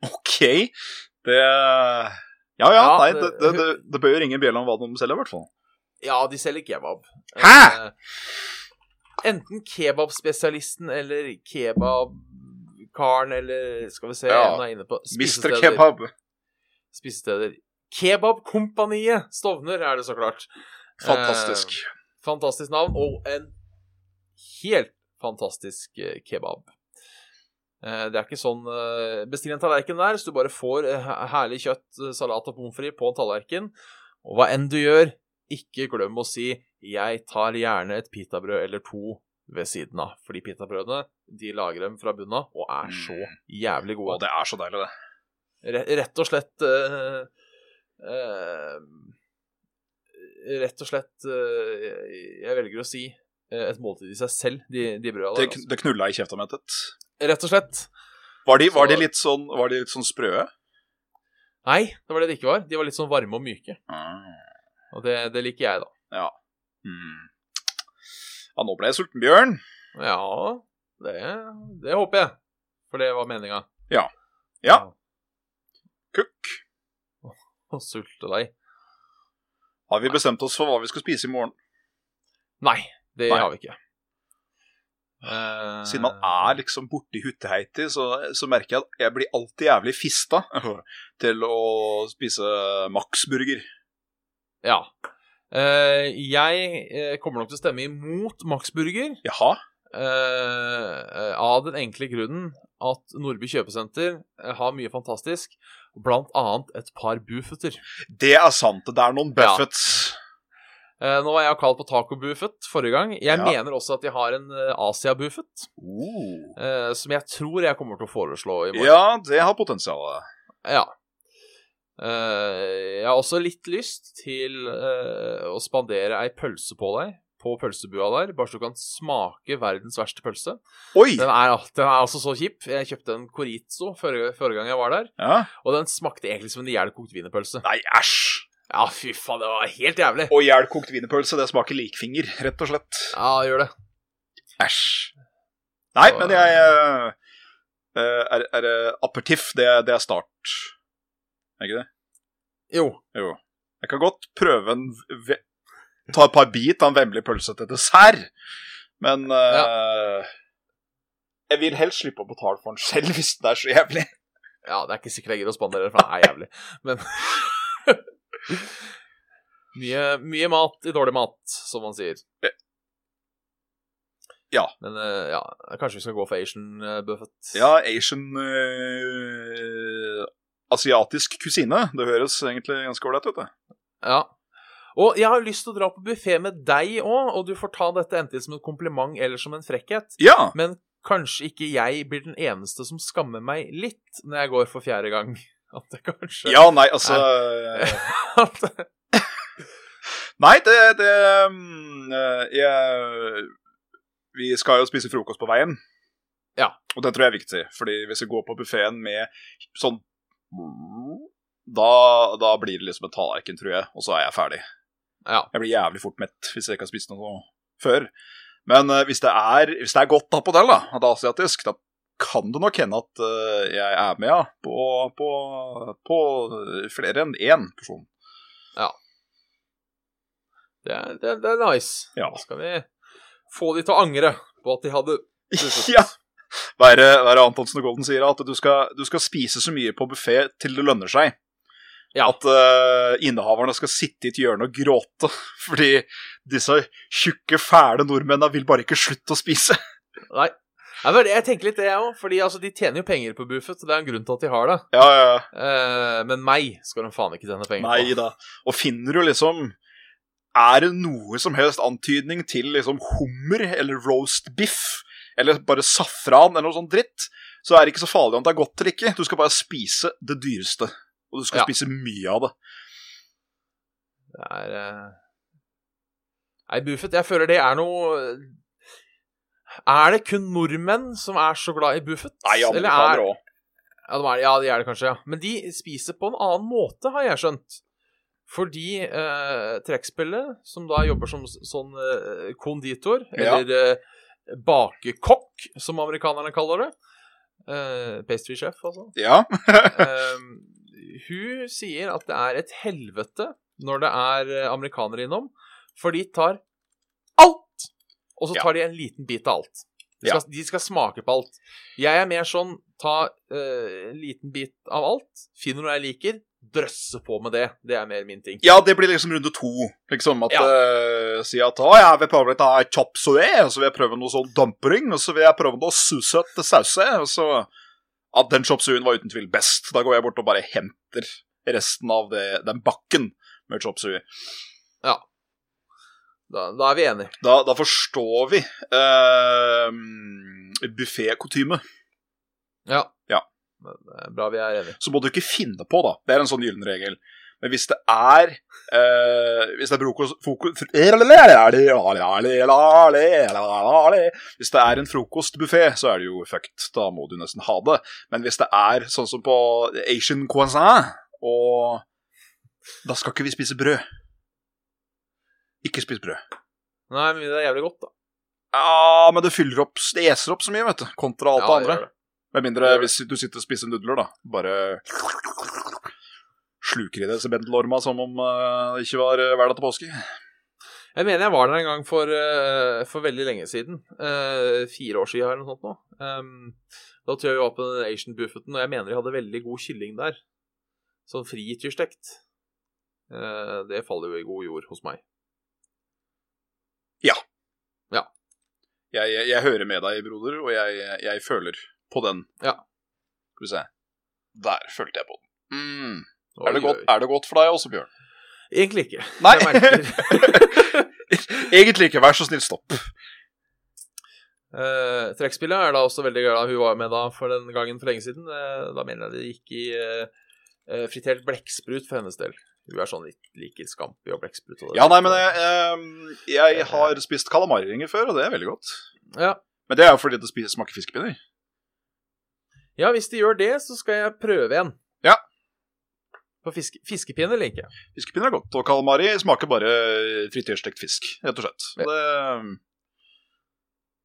Speaker 3: OK. Det Ja ja,
Speaker 2: Ja,
Speaker 3: nei, det,
Speaker 2: det-
Speaker 3: det, det, det bør jo ringe en bjelle om hva de selger, i hvert fall.
Speaker 2: Ja, de selger kebab.
Speaker 3: Hæ?
Speaker 2: Eh, enten Kebabspesialisten eller Kebabkaren eller Skal vi se,
Speaker 3: Ja.
Speaker 2: en er inne på
Speaker 3: Mr.
Speaker 2: spisesteder.
Speaker 3: Kebab.
Speaker 2: Spisesteder. Kebabkompaniet Stovner er det, så klart.
Speaker 3: Fantastisk.
Speaker 2: Fantastisk navn og en helt fantastisk eh, kebab. Eh, Det er ikke sånn eh, Bestill en tallerken der, så du bare får eh, he- herlig kjøtt, eh, salat og pommes frites på en tallerken. Og hva enn du gjør, ikke glem å si 'jeg tar gjerne et pitabrød eller to' ved siden av. Fordi pitabrødene, de lager dem fra bunnen av og er så jævlig
Speaker 3: Å,
Speaker 2: gode.
Speaker 3: det er så deilig, det.
Speaker 2: Re rett og slett eh, eh, Rett og slett eh, Jeg velger å si eh, et måltid i seg selv, de, de brøda
Speaker 3: Det,
Speaker 2: der.
Speaker 3: kn- det knulla i kjeftamentet.
Speaker 2: Altså. Rett og slett.
Speaker 3: Var de, var
Speaker 2: Så-
Speaker 3: de litt sånn, var de litt sånn sprøe?
Speaker 2: Nei, det var det de ikke var. De var litt sånn varme og myke.
Speaker 3: Ah,
Speaker 2: Og det, det liker jeg, da.
Speaker 3: hmm. Mm. Ja, nå ble jeg sulten, Bjørn.
Speaker 2: Ja, Det, det håper jeg, for det var meninga.
Speaker 3: Ja. Ja. Kukk.
Speaker 2: Å sulte deg.
Speaker 3: Har vi bestemt oss for hva vi skal spise i morgen?
Speaker 2: Nei, det
Speaker 3: Nei.
Speaker 2: har vi ikke. Eh,
Speaker 3: Siden man er liksom borti Hutteheiti, så, så merker jeg at jeg blir alltid jævlig fista til å spise Max-burger.
Speaker 2: Ja. Eh, jeg eh, kommer nok til å stemme imot Max Burger
Speaker 3: Jaha?
Speaker 2: eh, av den enkle grunnen at Nordby kjøpesenter eh, har mye fantastisk, blant annet et par Buffeter.
Speaker 3: Det er sant. Det er noen
Speaker 2: Ja.
Speaker 3: Buffets.
Speaker 2: Eh, nå var jeg og Carl på Taco Buffet forrige gang. Jeg
Speaker 3: Ja.
Speaker 2: mener også at de har en eh, Asia Buffet,
Speaker 3: Oh.
Speaker 2: eh, som jeg tror jeg kommer til å foreslå i morgen.
Speaker 3: Ja, det har potensial.
Speaker 2: Ja. Eh, jeg har også litt lyst til eh, å spandere ei pølse på deg på pølsebua der, bare så du kan smake verdens verste pølse.
Speaker 3: Oi!
Speaker 2: Den er, den er altså så kjip. Jeg kjøpte en chorizo forrige, forrige gang jeg var der,
Speaker 3: Ja.
Speaker 2: og den smakte egentlig som en ihjelkokt wienerpølse.
Speaker 3: Nei, æsj!
Speaker 2: Ja, fy faen, det var helt jævlig.
Speaker 3: Og ihjelkokt wienerpølse, det smaker likfinger, rett og slett.
Speaker 2: Ja, gjør det.
Speaker 3: Æsj. Nei, men jeg eh, Er, er det apertiff? Det, det er start. Er ikke det?
Speaker 2: Jo.
Speaker 3: Jo. Jeg kan godt prøve en ve- Ta et par bit av en vemmelig pølse til dessert, men eh, Jeg vil helst slippe å betale for den selv hvis den er så jævlig.
Speaker 2: Ja, det er ikke sikkert jeg gidder å spandere, for den er jævlig, men mye, mye mat i dårlig mat, som man sier.
Speaker 3: Ja.
Speaker 2: Men eh, ja, kanskje vi skal gå for Asian eh, Buffet.
Speaker 3: Ja, Asian eh, Asiatisk kusine. Det høres egentlig ganske ålreit ut, det.
Speaker 2: Ja. Og jeg har lyst til å dra på buffé med deg òg, og du får ta dette enten som en kompliment eller som en frekkhet.
Speaker 3: Ja!
Speaker 2: Men kanskje ikke jeg blir den eneste som skammer meg litt når jeg går for fjerde gang. At det kanskje
Speaker 3: Ja, nei, altså
Speaker 2: At,
Speaker 3: Nei, det, det mm, eh, jeg, Vi skal jo spise frokost på veien.
Speaker 2: Ja.
Speaker 3: Og det tror jeg er viktig, fordi hvis vi går på buffeen med sånn da, da blir det liksom en tallerken, tror jeg, og så er jeg ferdig.
Speaker 2: ja.
Speaker 3: Jeg blir jævlig fort mett hvis jeg ikke har spist noe før. Men eh, hvis, det er, hvis det er godt da på del, da, at det er asiatisk, da kan det nok hende at eh, jeg er med ja, på, på, på flere enn én person.
Speaker 2: Det er, det, er- det er nice.
Speaker 3: Ja.
Speaker 2: Da skal vi få de til å angre på at de hadde buffet.
Speaker 3: Ja. Hva er det hva er det Antonsen og Golden sier? At du skal, du skal spise så mye på buffé til det lønner seg.
Speaker 2: Ja.
Speaker 3: At eh, innehaverne skal sitte i et hjørne og gråte fordi disse tjukke, fæle nordmennene vil bare ikke slutte å spise.
Speaker 2: Nei. Nei, men Jeg tenker litt det, jeg òg. Fordi altså, de tjener jo penger på Buffet. Det er en grunn til at de har det.
Speaker 3: Ja, ja, ja.
Speaker 2: Eh, men meg skal de faen ikke tjene penger
Speaker 3: Nei
Speaker 2: på.
Speaker 3: da. Og finner du liksom Er det noe som helst antydning til liksom hummer eller roast biff eller bare safran eller noe sånt dritt, så er det ikke så farlig om det er godt eller ikke. Du skal bare spise det dyreste. Og du skal
Speaker 2: Ja.
Speaker 3: spise mye av det.
Speaker 2: Det er eh, Nei, Buffet, jeg føler det er noe Er det kun nordmenn som er så glad i Buffet?
Speaker 3: Nei,
Speaker 2: Eller er...
Speaker 3: amerikanere òg.
Speaker 2: Ja, de er, ja, de er det kanskje, ja. Men de spiser på en annen måte, har jeg skjønt. Fordi eh, trekkspillet, som da jobber som s- sånn eh, konditor,
Speaker 3: Ja.
Speaker 2: eller eh, bakekokk, som amerikanerne kaller det eh, Pastry chef, altså.
Speaker 3: Ja.
Speaker 2: Eh, hun sier at det er et helvete når det er eh, amerikanere innom, for de tar alt! Og så
Speaker 3: Ja.
Speaker 2: tar de en liten bit av alt. De skal, de skal smake på alt. Jeg er mer sånn ta eh, en liten bit av alt, finner noe jeg liker, drøsse på med det. Det er mer min ting.
Speaker 3: ja, det blir liksom runde to. Liksom at
Speaker 2: Ja.
Speaker 3: eh, Si at å, jeg vil prøve litt av chop suey, og så vil jeg prøve noe sånn dumpering, og så vil jeg prøve noe susøte sause, og så At den chop sueyen var uten tvil best. Da går jeg bort og bare henter resten av det, den bakken med chop suey.
Speaker 2: Da, da er vi enige.
Speaker 3: Da, da forstår vi uh, buffékutyme.
Speaker 2: Ja.
Speaker 3: Ja.
Speaker 2: Men, eh, bra vi er enige.
Speaker 3: så må du ikke finne på, da. Det er en sånn gyllen regel. Men hvis det er eh, Hvis det er frokost, fokus, Hvis det er en frokostbuffé, så er det jo fucked. Da må du nesten ha det. Men hvis det er sånn som på Asian croissant, og Da skal ikke vi spise brød. Ikke spis brød.
Speaker 2: Nei, men det er jævlig godt, da.
Speaker 3: Ja, men det fyller opp Det eser opp så mye, vet du. Kontra alt
Speaker 2: Ja,
Speaker 3: det
Speaker 2: det
Speaker 3: andre.
Speaker 2: gjør det.
Speaker 3: Med mindre hvis du sitter og spiser nudler, da. Bare sluker i deg sementlorma som om eh, det ikke var eh, hverdag til påske.
Speaker 2: Jeg mener jeg var der en gang for, eh, for veldig lenge siden. Eh, fire år siden eller noe sånt nå. Ehm, da tror jeg vi var på den Asian Buffeten, og jeg mener de hadde veldig god kylling der. Sånn frityrstekt. Eh, det faller jo i god jord hos meg.
Speaker 3: Jeg, jeg, jeg hører med deg, broder, og jeg, jeg- jeg føler på den.
Speaker 2: Ja.
Speaker 3: Skal vi se. Der følte jeg på den. Mm.
Speaker 2: Og
Speaker 3: Er, det
Speaker 2: gjør-
Speaker 3: godt, er det godt for deg også, Bjørn?
Speaker 2: Egentlig ikke.
Speaker 3: Nei!
Speaker 2: Jeg merker.
Speaker 3: Egentlig ikke. Vær så snill, stopp.
Speaker 2: Eh, trekkspillet er da også veldig glad hun var med da for den gangen for lenge siden. Eh, da mener jeg det gikk i eh, eh, fritert blekksprut for hennes del. Hun er sånn litt liker scampi og blekksprut. og det.
Speaker 3: Ja, nei, men jeg, eh, jeg har spist kalamariringer før, og det er veldig godt.
Speaker 2: ja.
Speaker 3: Men det er jo fordi det spi- smaker fiskepinner.
Speaker 2: ja, hvis de gjør det, så skal jeg prøve en.
Speaker 3: Ja.
Speaker 2: På fiske, fiskepinner liker jeg.
Speaker 3: Fiskepinner er godt, og kalamari smaker bare frityrstekt fisk, rett og slett.
Speaker 2: Ja.
Speaker 3: Det,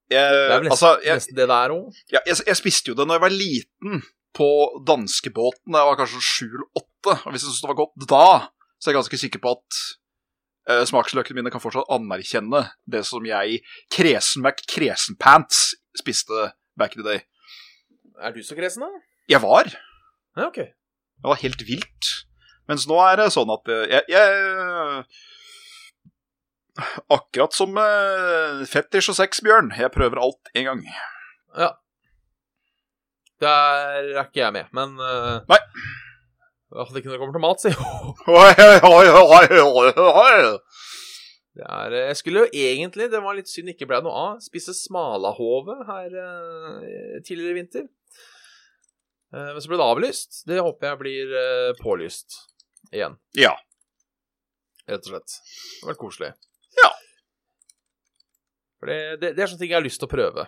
Speaker 2: Det er
Speaker 3: jeg,
Speaker 2: vel nesten,
Speaker 3: altså, jeg,
Speaker 2: nesten det der òg.
Speaker 3: jeg, jeg, jeg spiste jo det når jeg var liten, på danskebåten. da Jeg var kanskje sju eller åtte, og hvis jeg syntes det var godt da, så er jeg ganske sikker på at uh, smaksløkene mine kan fortsatt anerkjenne det som jeg kresen mac kresenpants spiste back in the day.
Speaker 2: Er du så kresen, da?
Speaker 3: Jeg var.
Speaker 2: Ja, OK.
Speaker 3: Det var helt vilt. Mens nå er det sånn at eh, jeg, jeg Akkurat som eh, fetisj og sex, Bjørn. Jeg prøver alt en gang.
Speaker 2: Der er ikke jeg med, men eh,
Speaker 3: Nei.
Speaker 2: Hadde ikke når det kommer til mat, si. Det er, eh, jeg skulle jo egentlig, det var litt synd ikke ble noe av, spise smalahove her eh, tidligere i vinter. Eh, men så ble det avlyst. Det håper jeg blir eh, pålyst igjen.
Speaker 3: Ja.
Speaker 2: Rett og slett. Det hadde vært koselig.
Speaker 3: Ja.
Speaker 2: For det, det, det er sånne ting jeg har lyst til å prøve.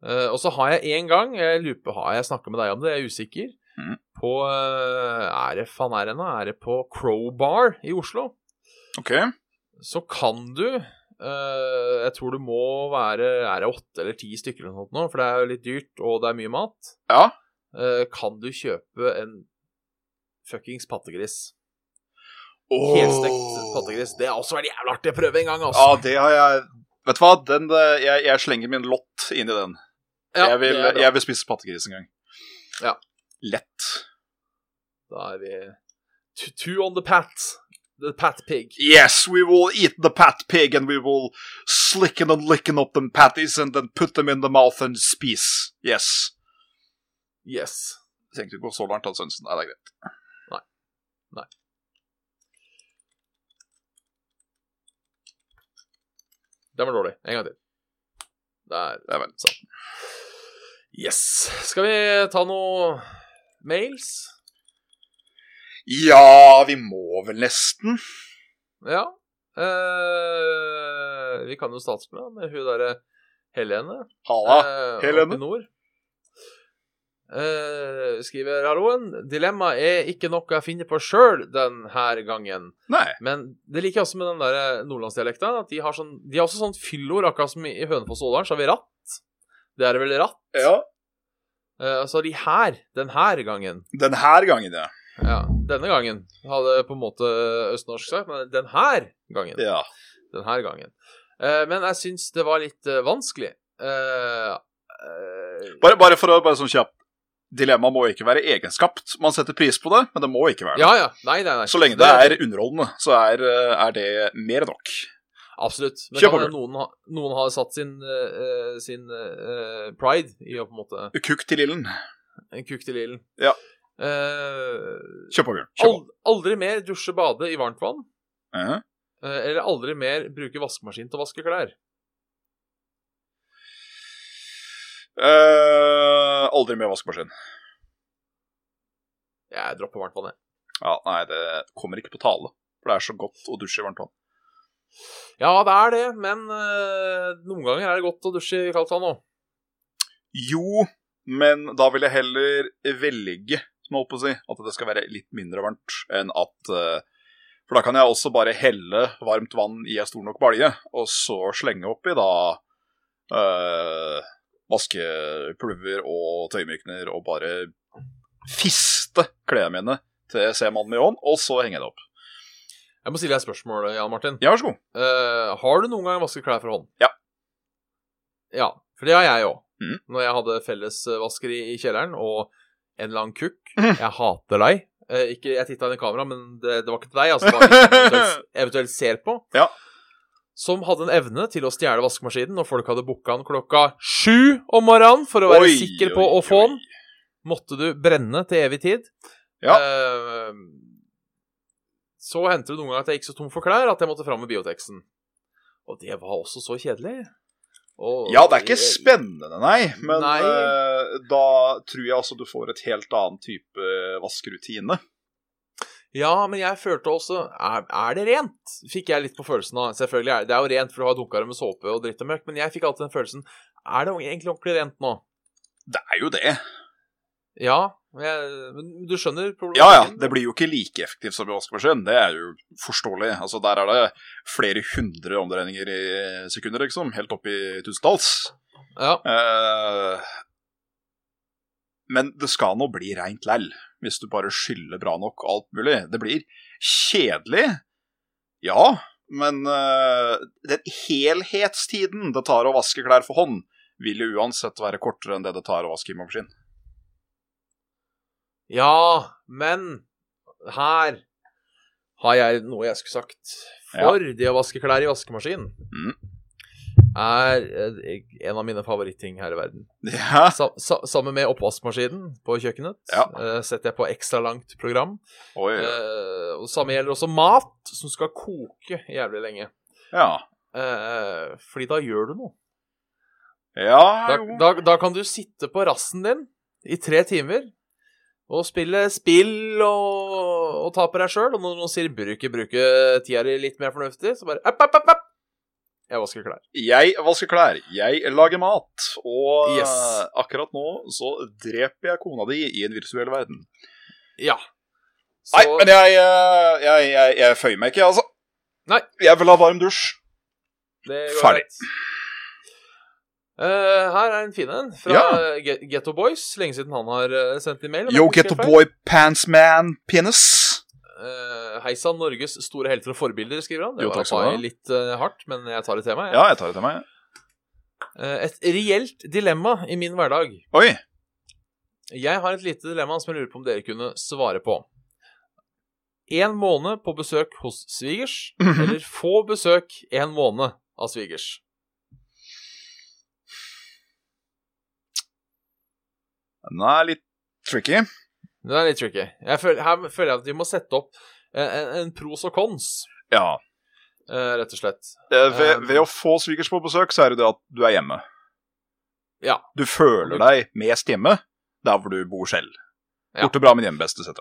Speaker 2: Eh, og så har jeg en gang, jeg lurer på, har jeg snakka med deg om det, jeg er usikker,
Speaker 3: Mhm.
Speaker 2: på eh, Er det faen er det nå? Er det på Crowbar i Oslo?
Speaker 3: OK.
Speaker 2: så kan du eh, Jeg tror du må være Er det åtte eller ti stykker eller noe sånt nå? For det er jo litt dyrt, og det er mye mat.
Speaker 3: Ja.
Speaker 2: Eh, kan du kjøpe en fuckings pattegris?
Speaker 3: Åh.
Speaker 2: Helstekt pattegris. Det har også vært jævlig artig å prøve en gang,
Speaker 3: Ja,
Speaker 2: altså.
Speaker 3: det har jeg Vet du hva, den, eh, jeg, jeg slenger min lott inn i den.
Speaker 2: Ja,
Speaker 3: jeg,
Speaker 2: det
Speaker 3: vil,
Speaker 2: er bra.
Speaker 3: jeg vil spise pattegris en gang.
Speaker 2: Ja.
Speaker 3: Lett.
Speaker 2: Da er vi t- two on the pat. The pat pig.
Speaker 3: Yes, we will eat the pat pig and we will slicken and licken up them patties and then put them in the mouth and spise. Yes.
Speaker 2: Yes.
Speaker 3: Jeg tenkte ikke å gå så langt, Hans Sønsen. Nei, det er greit.
Speaker 2: Den var dårlig. En gang til. Der.
Speaker 3: Det er vel.
Speaker 2: Sånn. Yes. Skal vi ta noe mails?
Speaker 3: Ja, vi må vel nesten.
Speaker 2: Ja. Eh, vi kan jo starte med, med hun derre Helene.
Speaker 3: Halla.
Speaker 2: eh, oppe
Speaker 3: Helene.
Speaker 2: i Nord. Eh, skriver halloen. Dilemmaet er ikke noe jeg finner på sjøl denne gangen.
Speaker 3: Nei.
Speaker 2: Men det liker jeg også med den der nordlandsdialekta. At de har, sånn, de har også sånn fyllord, akkurat som i Hønefoss og Ådalen, så har vi ratt. Det er vel ratt.
Speaker 3: Ja.
Speaker 2: Eh, så har de her, den her gangen.
Speaker 3: Denne gangen, ja.
Speaker 2: Ja, denne gangen hadde på en måte østnorsk sagt, men den her gangen
Speaker 3: ja.
Speaker 2: den her gangen. Eh, men jeg syns det var litt eh, vanskelig. Eh, eh,
Speaker 3: Bare, bare for å bare sånn kjapt. Dilemma må ikke være egenskapt. Man setter pris på det, men det må ikke være det.
Speaker 2: ja, ja. Nei, nei, nei.
Speaker 3: Så lenge det er underholdende, så er, eh, er det mer enn nok.
Speaker 2: Absolutt. Men
Speaker 3: Kjør på,
Speaker 2: kan hende noen, ha- noen har satt sin, eh, eh, sin eh, pride i å på en måte
Speaker 3: Kukk til ilden.
Speaker 2: En kuk til ilden.
Speaker 3: Ja.
Speaker 2: Eh,
Speaker 3: Kjør på, Bjørn. Kjør på.
Speaker 2: ald- aldri mer dusje, bade i varmt vann.
Speaker 3: Eh,
Speaker 2: eh, eller aldri mer bruke vaskemaskin til å vaske klær.
Speaker 3: eh, aldri mer vaskemaskin.
Speaker 2: Jeg dropper varmt vann, jeg.
Speaker 3: Ja, nei, det kommer ikke på tale. For det er så godt å dusje i varmt vann.
Speaker 2: Ja, det er det, men eh, noen ganger er det godt å dusje i kaldt vann òg.
Speaker 3: Jo, men da vil jeg heller velge, som jeg holdt på å si, at det skal være litt mindre varmt enn at eh, For da kan jeg også bare helle varmt vann i ei stor nok balje, og så slenge oppi da eh, vaskepulver og tøymykner og bare fiste klærne mine til C-mannen med ånd, og så henge det opp.
Speaker 2: Jeg må stille deg et spørsmål, eh, Jan Martin.
Speaker 3: Ja, vær så god.
Speaker 2: Eh, har du noen gang vasket klær for hånd?
Speaker 3: Ja.
Speaker 2: Ja, for det har jeg òg.
Speaker 3: Mhm.
Speaker 2: Når jeg hadde fellesvasker i, i kjelleren, og en eller annen kukk
Speaker 3: Mhm.
Speaker 2: Jeg hater deg. Eh, ikke, jeg titta inn i kamera, men det, det var ikke til deg. Altså, det var en som eventuelt, eventuelt ser på.
Speaker 3: Ja.
Speaker 2: Som hadde en evne til å stjele vaskemaskinen når folk hadde booka den klokka sju om morgenen for å være
Speaker 3: Oi,
Speaker 2: sikker
Speaker 3: oi,
Speaker 2: på å få
Speaker 3: oi.
Speaker 2: den. måtte du brenne til evig tid.
Speaker 3: Ja.
Speaker 2: Eh, så hendte det noen ganger at jeg gikk så tom for klær at jeg måtte fram med bioteksten. Og det var også så kjedelig. Og-
Speaker 3: Ja, det er ikke spennende, nei, men
Speaker 2: Nei.
Speaker 3: eh, da tror jeg altså du får et helt annen type eh, vaskerutine.
Speaker 2: Ja, men jeg følte også er, er det rent? Fikk jeg litt på følelsen av. Selvfølgelig, er- det er jo rent, for du har dunka det med såpe og dritt og mørkt, men jeg fikk alltid den følelsen Er det egentlig ordentlig rent nå?
Speaker 3: Det er jo det.
Speaker 2: Ja, men jeg, men du skjønner problemet?
Speaker 3: Ja ja, det blir jo ikke like effektivt som i vaskemaskin, det er jo forståelig. Altså, der er det flere hundre omdreininger i sekunder, liksom. Helt opp i tusentalls.
Speaker 2: Ja.
Speaker 3: Eh, men det skal nå bli reint lell, hvis du bare skyller bra nok og alt mulig. Det blir kjedelig, ja, men eh, den helhetstiden det tar å vaske klær for hånd, vil jo uansett være kortere enn det det tar å vaske i maskin.
Speaker 2: Ja, men her har jeg noe jeg skulle sagt. For det å vaske klær i vaskemaskin
Speaker 3: Mm.
Speaker 2: er eh, en av mine favoritting her i verden.
Speaker 3: Ja,
Speaker 2: Sa, sa, sammen med oppvaskmaskinen på kjøkkenet
Speaker 3: Ja.
Speaker 2: eh, setter jeg på ekstra langt program.
Speaker 3: oi,
Speaker 2: Eh, og samme gjelder også mat, som skal koke jævlig lenge.
Speaker 3: ja.
Speaker 2: Eh, fordi da gjør du noe.
Speaker 3: Ja,
Speaker 2: Da,
Speaker 3: jo.
Speaker 2: da, da kan du sitte på rassen din i tre timer og spille spill og, og ta på deg sjøl. Og når noen sier 'bruke, bruke tida di litt mer fornuftig', så bare app, app, app, app. Jeg vasker klær.
Speaker 3: Jeg vasker klær, jeg lager mat, og
Speaker 2: Yes.
Speaker 3: eh, akkurat nå så dreper jeg kona di i en virtuell verden.
Speaker 2: Ja. Så,
Speaker 3: Nei, men jeg, eh, jeg, jeg, jeg føyer meg ikke, altså.
Speaker 2: Nei.
Speaker 3: Jeg vil ha varm dusj.
Speaker 2: det går
Speaker 3: ferdig.
Speaker 2: greit. Eh, her er en fin en fra
Speaker 3: Ja.
Speaker 2: Ge- Getto Boys. Lenge siden han har eh, sendt en mail. om
Speaker 3: Yo,
Speaker 2: jeg ikke
Speaker 3: get a
Speaker 2: husker feil.
Speaker 3: boy pants man penis.
Speaker 2: Eh, Hei sann, Norges store helter og forbilder, skriver han. Det
Speaker 3: Jo,
Speaker 2: var
Speaker 3: takk
Speaker 2: å
Speaker 3: skal
Speaker 2: ta
Speaker 3: du
Speaker 2: i
Speaker 3: ha.
Speaker 2: litt eh, hardt, men jeg tar det til meg. jeg.
Speaker 3: Ja, jeg tar det til meg.
Speaker 2: Eh, et reelt dilemma i min hverdag.
Speaker 3: Oi.
Speaker 2: Jeg har et lite dilemma som jeg lurer på om dere kunne svare på. En måned på besøk hos svigers,
Speaker 3: Mhm.
Speaker 2: eller få besøk en måned av svigers.
Speaker 3: Den er litt tricky.
Speaker 2: Det er litt tricky. Jeg føler, her føler jeg at vi må sette opp eh, en, en pros og cons,
Speaker 3: Ja.
Speaker 2: eh, rett og slett.
Speaker 3: Eh, Ved,
Speaker 2: Um.
Speaker 3: ved å få svigers på besøk, så er det det at du er hjemme.
Speaker 2: Ja.
Speaker 3: Du føler deg mest hjemme der hvor du bor selv.
Speaker 2: Ja.
Speaker 3: Borte bra, men hjemme best, etc.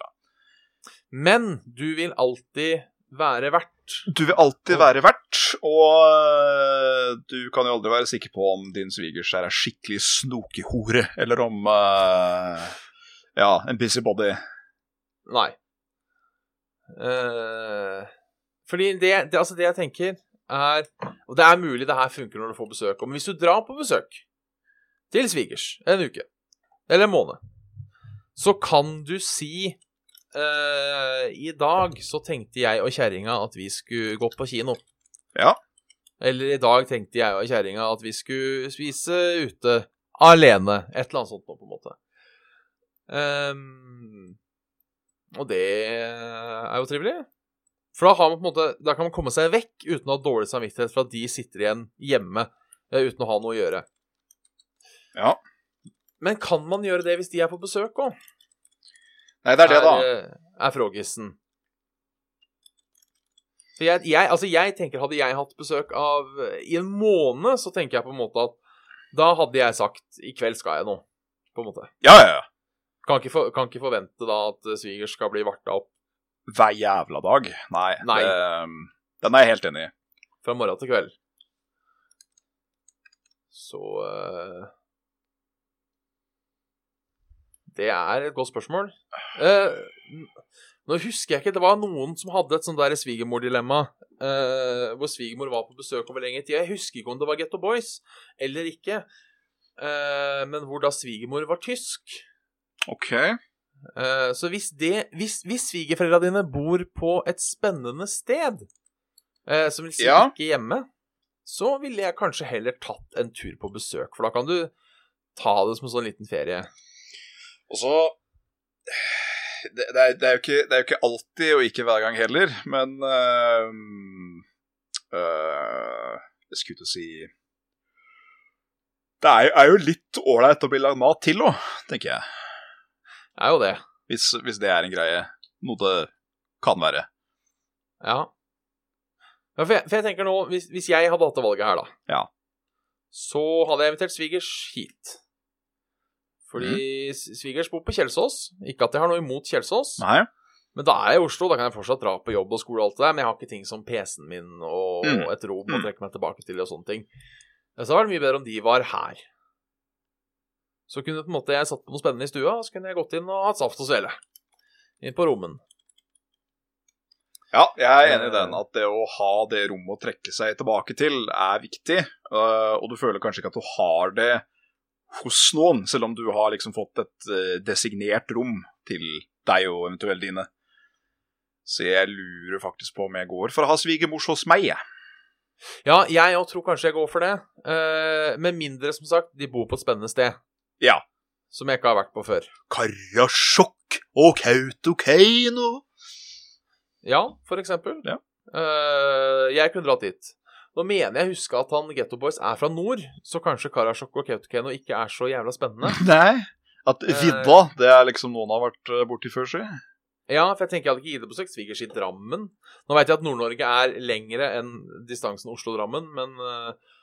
Speaker 2: Men du vil alltid være vert.
Speaker 3: Du vil alltid være vert, og øh, du kan jo aldri være sikker på om din svigers er ei skikkelig snokehore, eller om øh, Ja, en busybody.
Speaker 2: Nei. Eh, fordi det, det, altså det jeg tenker, er Og det er mulig det her funker når du får besøk. Men hvis du drar på besøk til svigers en uke eller en måned, så kan du si eh, I dag så tenkte jeg og kjerringa at vi skulle gå på kino.
Speaker 3: Ja.
Speaker 2: Eller i dag tenkte jeg og kjerringa at vi skulle spise ute alene. Et eller annet sånt nå, på en måte. Ehm, og det er jo trivelig. For da, har man på en måte, da kan man komme seg vekk uten å ha dårlig samvittighet for at de sitter igjen hjemme eh, uten å ha noe å gjøre.
Speaker 3: Ja.
Speaker 2: Men kan man gjøre det hvis de er på besøk òg?
Speaker 3: Nei, eh, det er det, da.
Speaker 2: Er, eh, er frågisen. For jeg, jeg, altså jeg tenker, hadde jeg hatt besøk av eh, I en måned så tenker jeg på en måte at da hadde jeg sagt 'i kveld skal jeg noe', på en måte.
Speaker 3: Ja, ja, ja.
Speaker 2: Kan ikke, for, kan ikke forvente da at eh, svigers skal bli varta opp
Speaker 3: Hver jævla dag. Nei.
Speaker 2: Nei.
Speaker 3: det- eh, den er jeg helt enig i.
Speaker 2: fra morgen til kveld. Så eh, Det er et godt spørsmål. Eh, n- nå husker jeg ikke Det var noen som hadde et sånt der svigermordilemma. eh, hvor svigermor var på besøk over lengre tid. Jeg husker ikke om det var Getto Boys eller ikke. Eh, men hvor da svigermor var tysk.
Speaker 3: Ok.
Speaker 2: Eh, så hvis, det- hvis, hvis svigerforeldra dine bor på et spennende sted, eh, som vil si
Speaker 3: Ja.
Speaker 2: ikke hjemme, så ville jeg kanskje heller tatt en tur på besøk, for da kan du ta det som en sånn liten ferie.
Speaker 3: Og så det, det, er, det, er jo ikke, det er jo ikke alltid, og ikke hver gang heller, men eh, eh, Jeg skulle til å si Det er jo, er jo litt ålreit å bli lagd mat til òg, tenker jeg.
Speaker 2: Det er jo det.
Speaker 3: Hvis, hvis det er en greie. Noe det kan være.
Speaker 2: Ja. ja for, jeg, for jeg tenker nå, hvis, hvis jeg hadde hatt det valget her, da,
Speaker 3: Ja.
Speaker 2: så hadde jeg invitert svigers hit. Fordi s- svigers bor på Kjelsås. Ikke at jeg har noe imot Kjelsås,
Speaker 3: Mm. Nei?
Speaker 2: men da er jeg i Oslo. Da kan jeg fortsatt dra på jobb og skole og alt det der, men jeg har ikke ting som PC-en min og
Speaker 3: Mm.
Speaker 2: et rom å
Speaker 3: Mm.
Speaker 2: trekke meg tilbake til og sånne ting. Så det hadde vært mye bedre om de var her. Så kunne på en måte jeg satt på noe spennende i stua, og så kunne jeg gått inn og hatt saft og svele. Inn på rommen.
Speaker 3: Ja, jeg er enig i den. At det å ha det rommet å trekke seg tilbake til, er viktig. Eh, og du føler kanskje ikke at du har det hos noen, selv om du har liksom fått et eh, designert rom til deg og eventuelt dine. Så jeg lurer faktisk på om jeg går for å ha svigermors hos meg, jeg.
Speaker 2: Ja, jeg òg tror kanskje jeg går for det. Eh, med mindre, som sagt, de bor på et spennende sted.
Speaker 3: Ja.
Speaker 2: Som jeg ikke har vært på før.
Speaker 3: Karasjok og Kautokeino.
Speaker 2: Ja, for eksempel.
Speaker 3: Ja.
Speaker 2: Eh, jeg kunne dratt dit. Nå mener jeg å huske at han Getto Boys er fra nord, så kanskje Karasjok og Kautokeino ikke er så jævla spennende.
Speaker 3: Nei. Eh. At vidda, det er liksom noen har vært eh, borti før, si.
Speaker 2: Ja, for jeg tenker jeg hadde ikke gitt det på søkt svigers i Drammen. Nå veit jeg at Nord-Norge er lengre enn distansen Oslo-Drammen, men eh,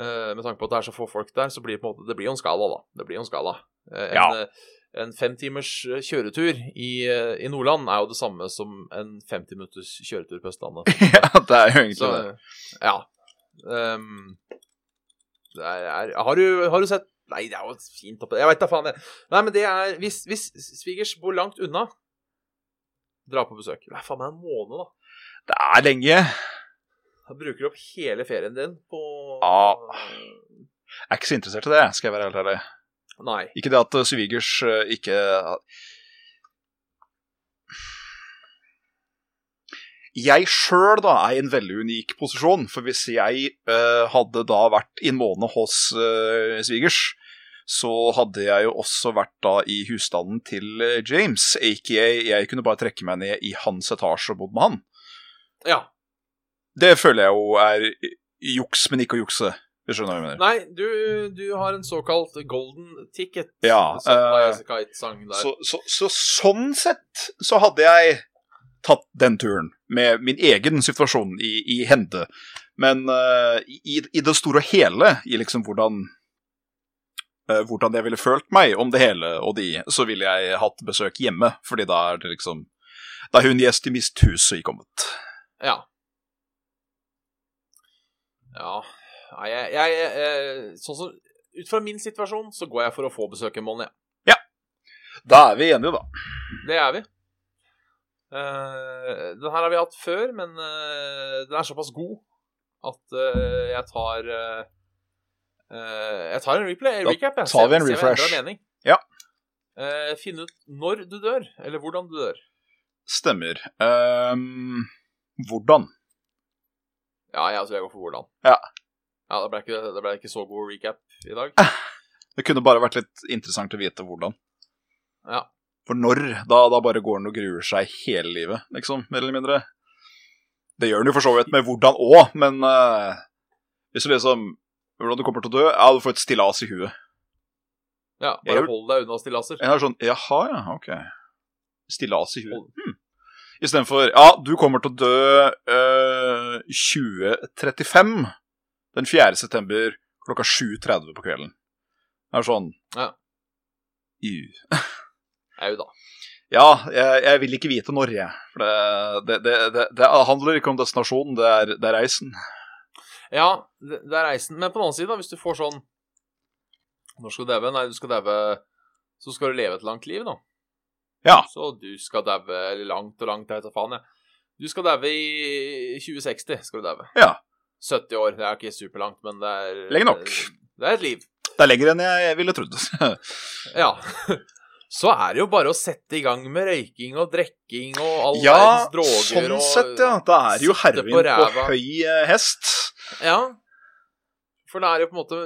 Speaker 2: eh, med tanke på at det er så få folk der, så blir det på en måte Det blir jo en skala, da. Det blir jo en skala. Eh, en,
Speaker 3: Ja.
Speaker 2: eh, en fem timers eh, kjøretur i, eh, i Nordland er jo det samme som en 50 minutters kjøretur på Østlandet.
Speaker 3: ja, det er jo egentlig
Speaker 2: Så
Speaker 3: det.
Speaker 2: ja. Ehm, det er, er, har, du, har du sett Nei, det er jo fint oppe Jeg veit da faen, jeg. Nei, men det er Hvis, hvis svigers bor langt unna, dra på besøk. Det er faen meg en måned, da.
Speaker 3: Det er lenge.
Speaker 2: Da bruker du opp hele ferien din på
Speaker 3: Ja. Jeg er ikke så interessert i det, skal jeg være helt ærlig.
Speaker 2: Nei.
Speaker 3: Ikke det at eh, svigers eh, ikke Jeg sjøl da er i en veldig unik posisjon, for hvis jeg eh, hadde da vært i en måned hos eh, svigers, så hadde jeg jo også vært da i husstanden til eh, James, aka jeg kunne bare trekke meg ned i hans etasje og bodd med han.
Speaker 2: Ja.
Speaker 3: Det føler jeg jo er juks, men ikke å jukse. Du skjønner hva jeg mener?
Speaker 2: Nei, du, du har en såkalt golden ticket.
Speaker 3: Ja,
Speaker 2: Som
Speaker 3: eh,
Speaker 2: Ice Kite-sang der.
Speaker 3: Så, så, så sånn sett så hadde jeg tatt den turen, med min egen situasjon i, i hende. Men eh, i, i det store og hele, i liksom hvordan eh, hvordan jeg ville følt meg om det hele og de, så ville jeg hatt besøk hjemme. Fordi da er det liksom Da er hun gjest i mitt hus og ikke kommet.
Speaker 2: Ja. Ja Nei, jeg, jeg eh, Sånn som Ut fra min situasjon så går jeg for å få besøk en måned, jeg.
Speaker 3: Da er vi enige, da.
Speaker 2: Det er vi. Eh, den her har vi hatt før, men eh, den er såpass god at eh, jeg tar eh, eh, Jeg tar en replay,
Speaker 3: Da
Speaker 2: recap. Jeg.
Speaker 3: tar
Speaker 2: Se-
Speaker 3: vi
Speaker 2: se
Speaker 3: en
Speaker 2: om jeg endrer
Speaker 3: refresh.
Speaker 2: mening.
Speaker 3: Ja.
Speaker 2: Eh, finne ut når du dør, eller hvordan du dør.
Speaker 3: Stemmer. Ehm, hvordan?
Speaker 2: Ja, jeg tror jeg går for hvordan.
Speaker 3: Ja.
Speaker 2: Ja, Det ble ikke, det ble ikke så god recap i dag.
Speaker 3: Det kunne bare vært litt interessant å vite hvordan.
Speaker 2: Ja.
Speaker 3: For når? Da, da bare går han og gruer seg hele livet, liksom, mer eller mindre. Det gjør han jo for så vidt med hvordan òg, men eh, hvis du liksom Hvordan du kommer til å dø? Ja, du får et stillas i huet.
Speaker 2: Ja,
Speaker 3: Jeg
Speaker 2: Bare
Speaker 3: gjorde-
Speaker 2: hold deg unna stillaser.
Speaker 3: En er sånn Jaha, ja, ok. Stillas i
Speaker 2: Hold-
Speaker 3: huet. Hmm. Istedenfor Ja, du kommer til å dø eh, 2035 den 4. september klokka 7.30 på kvelden. Det er sånn
Speaker 2: Ja.
Speaker 3: Ju.
Speaker 2: Au da.
Speaker 3: Ja, jeg, jeg vil ikke vite når, jeg. For det, det, det, det, det handler ikke om destinasjonen, det er, det er reisen.
Speaker 2: Ja, det, det er reisen. Men på den annen side, da, hvis du får sånn Når skal du daue? Nei, du skal daue så skal du leve et langt liv, da.
Speaker 3: Ja.
Speaker 2: Så du skal daue langt og langt, jeg vet da faen, jeg. Du skal daue i 2060, skal du daue.
Speaker 3: Ja.
Speaker 2: 70 år. Det er ikke superlangt, men det er
Speaker 3: Lenge nok.
Speaker 2: Det er et liv.
Speaker 3: Det er lenger enn jeg ville trodd.
Speaker 2: Ja. Så er det jo bare å sette i gang med røyking og drikking og all
Speaker 3: ja,
Speaker 2: verdens droger
Speaker 3: sånn
Speaker 2: og
Speaker 3: sett, ja. Da er det jo
Speaker 2: sitte
Speaker 3: heroin
Speaker 2: på
Speaker 3: på,
Speaker 2: ræva.
Speaker 3: høy eh, hest.
Speaker 2: Ja. For det er jo på en måte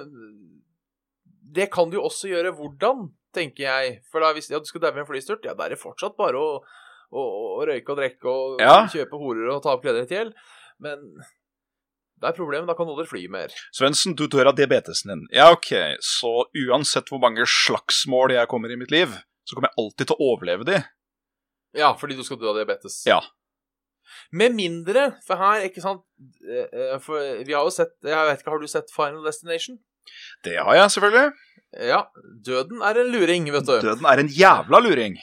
Speaker 2: Det kan du jo også gjøre hvordan, tenker jeg. For da, hvis ja, du skal daue i en flystyrt, ja, da er det fortsatt bare å, å, å røyke og drikke og
Speaker 3: Ja.
Speaker 2: kjøpe horer og ta opp klærne ditt i hjel. Men det er problemet. Da kan du aldri fly mer.
Speaker 3: Svendsen, du dør av diabetesen din. Ja, ok, så uansett hvor mange slagsmål jeg kommer i mitt liv, så kommer jeg alltid til å overleve de.
Speaker 2: Ja, fordi du skal dø av diabetes.
Speaker 3: Ja.
Speaker 2: Med mindre, for her, ikke sant eh, eh, For vi har jo sett Jeg vet ikke, har du sett Final Destination?
Speaker 3: Det har jeg, selvfølgelig.
Speaker 2: Ja. Døden er en luring, vet du.
Speaker 3: Døden er en jævla luring.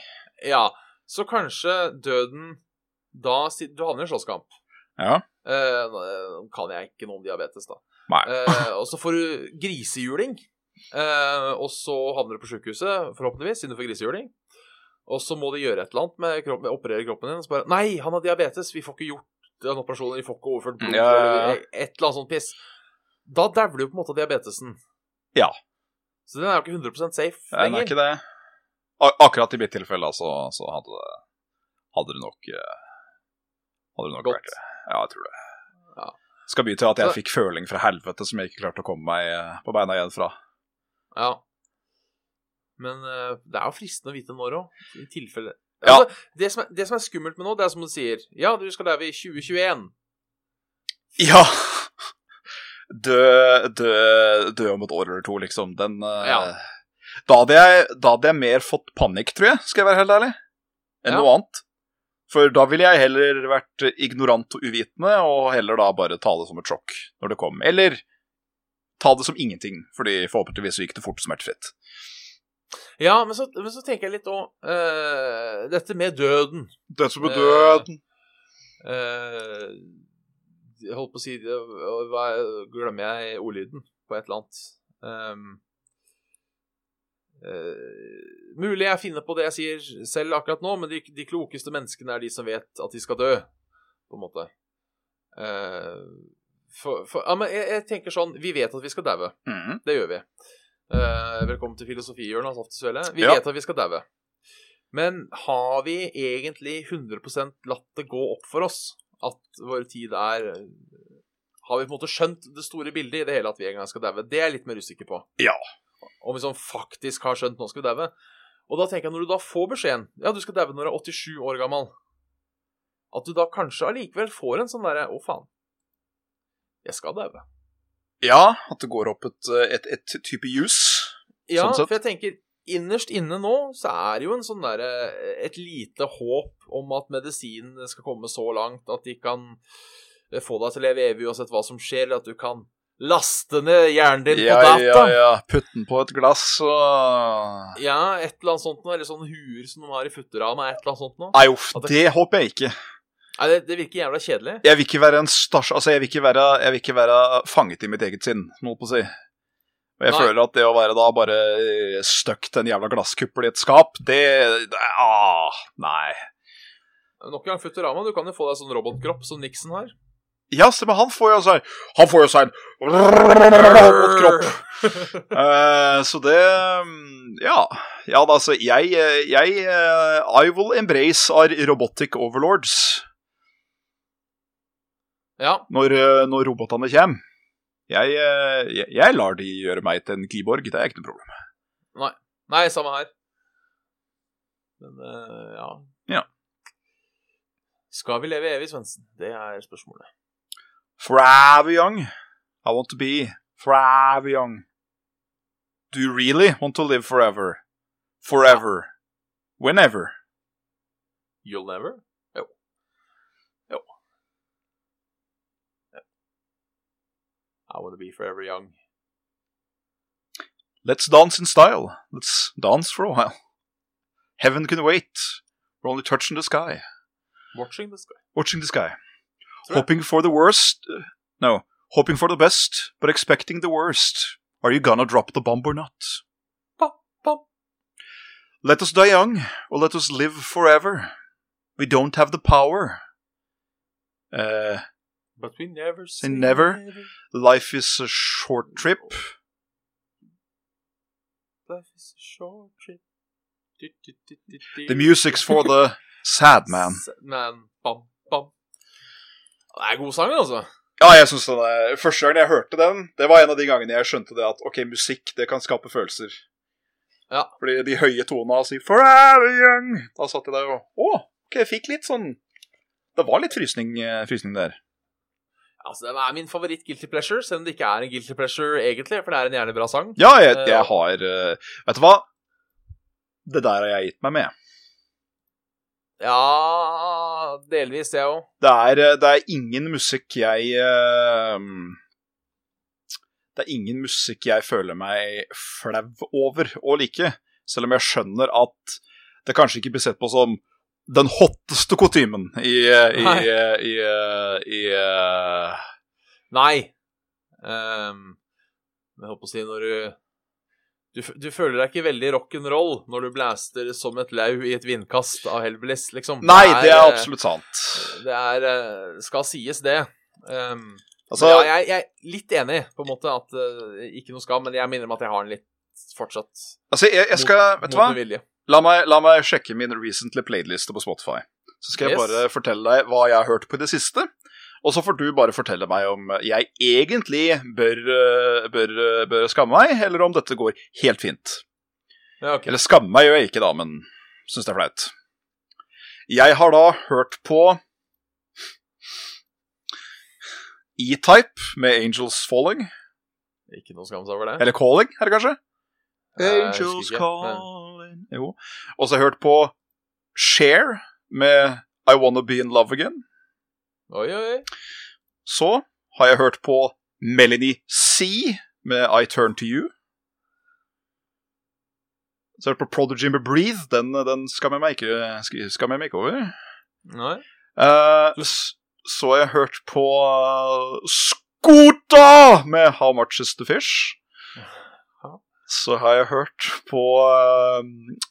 Speaker 2: Ja, så kanskje døden da si- Du havner i en slåsskamp.
Speaker 3: Ja.
Speaker 2: Eh, nå kan jeg ikke noe om diabetes, da.
Speaker 3: Nei.
Speaker 2: Eh, og så får du grisehjuling. Eh, og så havner du på sjukehuset, forhåpentligvis, siden du får grisehjuling. Og så må de gjøre et eller annet med kroppen, operere kroppen din. Og så bare Nei, han har diabetes! Vi får ikke gjort den operasjonen. Vi får ikke overført blod.
Speaker 3: Ja, ja, ja.
Speaker 2: Eller et eller annet sånt piss. Da dauer du på en måte av diabetesen.
Speaker 3: Ja.
Speaker 2: Så den er jo ikke 100 safe
Speaker 3: Den er
Speaker 2: lenger.
Speaker 3: ikke det. A- Akkurat i mitt tilfelle, altså, så hadde det, hadde det nok eh, Hadde det nok
Speaker 2: Godt.
Speaker 3: vært det. Ja, jeg tror det.
Speaker 2: Ja.
Speaker 3: Skal by til at jeg
Speaker 2: Så-
Speaker 3: fikk føling fra helvete som jeg ikke klarte å komme meg eh, på beina igjen fra.
Speaker 2: Ja. Men eh, det er jo fristende å vite når òg, i tilfelle
Speaker 3: Ja.
Speaker 2: altså, det, som er, det som er skummelt med nå, det er som du sier Ja, du skal leve i 2021.
Speaker 3: Ja! Dø, dø, dø om et år eller to, liksom. Den eh,
Speaker 2: Ja.
Speaker 3: da, hadde jeg, da hadde jeg mer fått panikk, tror jeg, skal jeg være helt ærlig, enn
Speaker 2: Ja.
Speaker 3: noe annet. For da ville jeg heller vært ignorant og uvitende, og heller da bare ta det som et sjokk når det kom. Eller ta det som ingenting, fordi forhåpentligvis så gikk det fort og smertefritt.
Speaker 2: Ja, men så, men så tenker jeg litt òg Dette med døden
Speaker 3: Død som
Speaker 2: er døden. eh, Jeg holdt på å si det, og hva, Glemmer jeg ordlyden på et eller annet? Ehm, eh, mulig jeg finner på det jeg sier selv akkurat nå, men de, de klokeste menneskene er de som vet at de skal dø, på en måte. Eh, for, for, ja, men jeg, jeg tenker sånn Vi vet at vi skal daue.
Speaker 3: Mhm.
Speaker 2: Det gjør vi. Eh, velkommen til filosofihjørnet av Svele. Vi
Speaker 3: Ja.
Speaker 2: vet at vi skal daue. Men har vi egentlig 100 latt det gå opp for oss at vår tid er Har vi på en måte skjønt det store bildet i det hele at vi en gang skal daue? Det er jeg litt mer usikker på.
Speaker 3: Ja.
Speaker 2: Om vi sånn faktisk har skjønt nå skal vi daue. Og da tenker jeg når du da får beskjeden Ja, du skal daue når du er 87 år gammel. At du da kanskje allikevel får en sånn derre Å, faen. Jeg skal daue.
Speaker 3: Ja, at det går opp et, eh, et, et type jus.
Speaker 2: Ja,
Speaker 3: Sånn sett.
Speaker 2: for jeg tenker innerst inne nå så er det jo en sånn der, eh, et lite håp om at medisinen skal komme så langt at de kan eh, få deg til å leve evig uansett hva som skjer, eller at du kan laste ned hjernen din
Speaker 3: Ja,
Speaker 2: på data.
Speaker 3: ja, ja. Putt den på et glass og
Speaker 2: Ja, et eller annet sånt noe, eller sånne huer som de har i Futurama, et eller annet sånt noe.
Speaker 3: Nei, uff,
Speaker 2: At det-
Speaker 3: det håper jeg ikke.
Speaker 2: Nei, det, det virker jævla kjedelig.
Speaker 3: Jeg vil ikke være en stasj... Altså, jeg vil ikke være, jeg vil ikke være fanget i mitt eget sinn, må jeg på å si. Og jeg
Speaker 2: Nei.
Speaker 3: føler at det å være da bare eh, stuck til en jævla glasskuppel i et skap, det, det ah, Nei.
Speaker 2: Nok en gang Futurama, du kan jo få deg sånn robotkropp som Nixon har.
Speaker 3: Ja, stemmer, han får jo seg Han får jo seg en robotkropp. Eh, så det mm, Ja. Ja, da, altså, jeg, eh, jeg eh, I will embrace our robotic overlords
Speaker 2: Ja,
Speaker 3: når, eh, når robotene kommer. Jeg, eh, jeg, jeg lar de gjøre meg til en kyborg, det er ikke noe problem.
Speaker 2: Nei, samme her. Men eh, ja.
Speaker 3: Ja.
Speaker 2: Skal vi leve evig, Svendsen? Det er spørsmålet.
Speaker 3: Forever young. I want to be forever young. Do you really want to live forever? Forever. Whenever.
Speaker 2: You'll never? Jo. Jo. Ja. I wanna be forever young.
Speaker 3: Let's dance in style. Let's dance for a while. Heaven can wait. We're only touching the sky.
Speaker 2: Watching the sky.
Speaker 3: Watching the sky.
Speaker 2: Tror jeg.
Speaker 3: Hoping for the worst. uh, No. Hoping for the best, but expecting the worst. Are you gonna drop the bomb or not?
Speaker 2: Bom, bom.
Speaker 3: Let us die young, or let us live forever. We don't have the power. Uh,
Speaker 2: But we never say
Speaker 3: never. life is a short trip.
Speaker 2: Life is a short trip. Du, du, du, du, du.
Speaker 3: The music's for the sad man.
Speaker 2: S- Man. Bam, bam. Det er god sang, altså.
Speaker 3: Ja, jeg synes den er, Første gangen jeg hørte den, det var en av de gangene jeg skjønte det at ok, musikk det kan skape følelser.
Speaker 2: Ja.
Speaker 3: Fordi de høye tonene sier 'Forever young'. Da satt jeg der og Å, ok, jeg fikk litt sånn Det var litt frysning, eh, frysning der.
Speaker 2: Altså, Den er min favoritt-guilty pleasure, selv om det ikke er en guilty pleasure egentlig, for det er en jævlig bra sang.
Speaker 3: Ja, jeg,
Speaker 2: Ja.
Speaker 3: jeg har eh, Vet du hva? Det der har jeg gitt meg med.
Speaker 2: Ja Delvis, det òg.
Speaker 3: Det er, eh, det er ingen musikk jeg eh, Det er ingen musikk jeg føler meg flau over å like, selv om jeg skjønner at det kanskje ikke blir sett på som den hotteste kutymen i, eh, i,
Speaker 2: Nei.
Speaker 3: eh, i, eh, i, eh,
Speaker 2: Nei. Ehm, jeg holdt på å si når du du, f- du føler deg ikke veldig rock'n'roll når du blaster som et lau i et vindkast av Hellbillies, liksom.
Speaker 3: Nei, det er
Speaker 2: eh,
Speaker 3: absolutt sant.
Speaker 2: Det er eh, Skal sies, det. Ehm,
Speaker 3: Altså,
Speaker 2: ja, jeg, jeg er litt enig, på en måte, at eh, ikke noe skam, men jeg minner om at jeg har den litt fortsatt.
Speaker 3: altså jeg, jeg skal
Speaker 2: mot,
Speaker 3: Vet du hva?
Speaker 2: mot min vilje.
Speaker 3: La meg, la meg sjekke min recently played-liste på Spotify. Så skal jeg
Speaker 2: Yes.
Speaker 3: bare fortelle deg hva jeg har hørt på i det siste. Og så får du bare fortelle meg om jeg egentlig bør, øh, bør, øh, bør skamme meg, eller om dette går helt fint.
Speaker 2: Ja, ok.
Speaker 3: Eller skamme meg gjør jeg ikke, da, men syns det er flaut. Jeg har da hørt på E-Type med Angels Falling.
Speaker 2: Ikke noe skam over det.
Speaker 3: Eller Calling, er det kanskje?
Speaker 2: Nei, Eh, jeg husker ikke.
Speaker 3: Calling Jo. Og så har jeg hørt på Share med I Wanna Be In Love Again.
Speaker 2: Oi, oi, oi.
Speaker 3: Så har jeg hørt på Melanie C med I Turn To You. Så har jeg hørt på Prodigy med Breathe. Den, den skammer jeg meg ikke, sk- skammer jeg meg ikke over.
Speaker 2: Nei.
Speaker 3: Eh, s- så har jeg hørt på Skota med How Much Is The Fish.
Speaker 2: Ja.
Speaker 3: Så har jeg hørt på uh,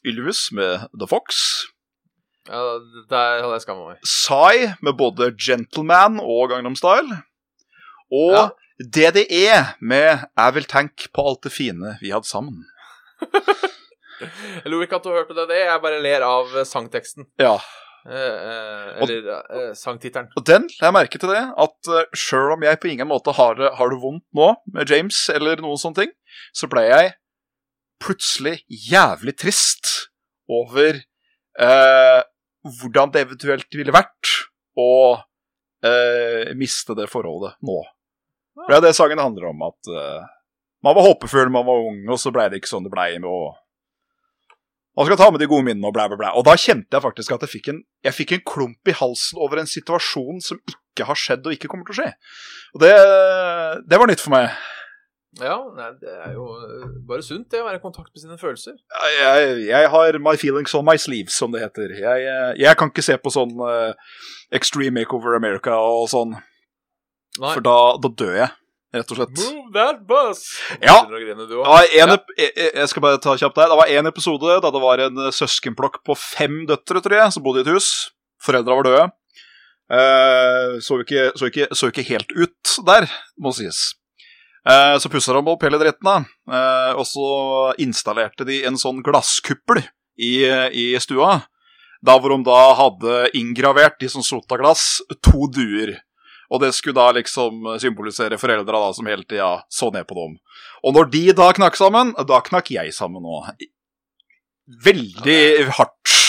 Speaker 3: Ylvis med The Fox.
Speaker 2: Ja, der hadde jeg skamma meg.
Speaker 3: Psy med både Gentleman og Gangnam Style. Og
Speaker 2: Ja.
Speaker 3: DDE med Jeg vil tenke på alt det fine vi hadde sammen.
Speaker 2: Jeg lo ikke at du hørte det, det. jeg bare ler av eh, sangteksten.
Speaker 3: Ja,
Speaker 2: Eh, eh, eller eh, sangtittelen.
Speaker 3: Og den, la jeg merke til det, at uh, sjøl om jeg på ingen måte har, det- har det vondt nå med James eller noen sånne ting, så ble jeg plutselig jævlig trist over eh, hvordan det eventuelt ville vært å eh, miste det forholdet nå. For Det er det sangen handler om, at eh, man var håpefull, man var ung, og så blei det ikke sånn det blei. Og man skal ta med de gode minnene og blæ, blæ, blæ. Og da kjente jeg faktisk at jeg fikk, en, jeg fikk en klump i halsen over en situasjon som ikke har skjedd og ikke kommer til å skje. Og det, det var nytt for meg.
Speaker 2: Ja, nei, det er jo eh, bare sunt, det, å være i kontakt med sine følelser.
Speaker 3: Jeg, jeg har my feelings on my sleeves, som det heter. Jeg, eh, jeg kan ikke se på sånn eh, Extreme Makeover America og sånn,
Speaker 2: Nei.
Speaker 3: for da, da dør jeg, rett og slett.
Speaker 2: Move that bus!
Speaker 3: Ja.
Speaker 2: Begynner å grine, du
Speaker 3: Det
Speaker 2: òg.
Speaker 3: var en, ep- jeg, jeg- jeg skal bare ta kjapt der. Det var en episode da det var en eh, søskenflokk på fem døtre, tror jeg, som bodde i et hus. Foreldra var døde. Eh, så, jo ikke, så, jo ikke, så jo ikke helt ut der, må sies. Eh, så pussa de opp hele dritten, da. Eh, og så installerte de en sånn glasskuppel i, i stua. Da hvor de da hadde inngravert i sånn sotaglass to duer. Og det skulle da liksom symbolisere foreldra da, som hele tida så ned på dem. Og når de da knakk sammen, da knakk jeg sammen òg. Veldig hardt.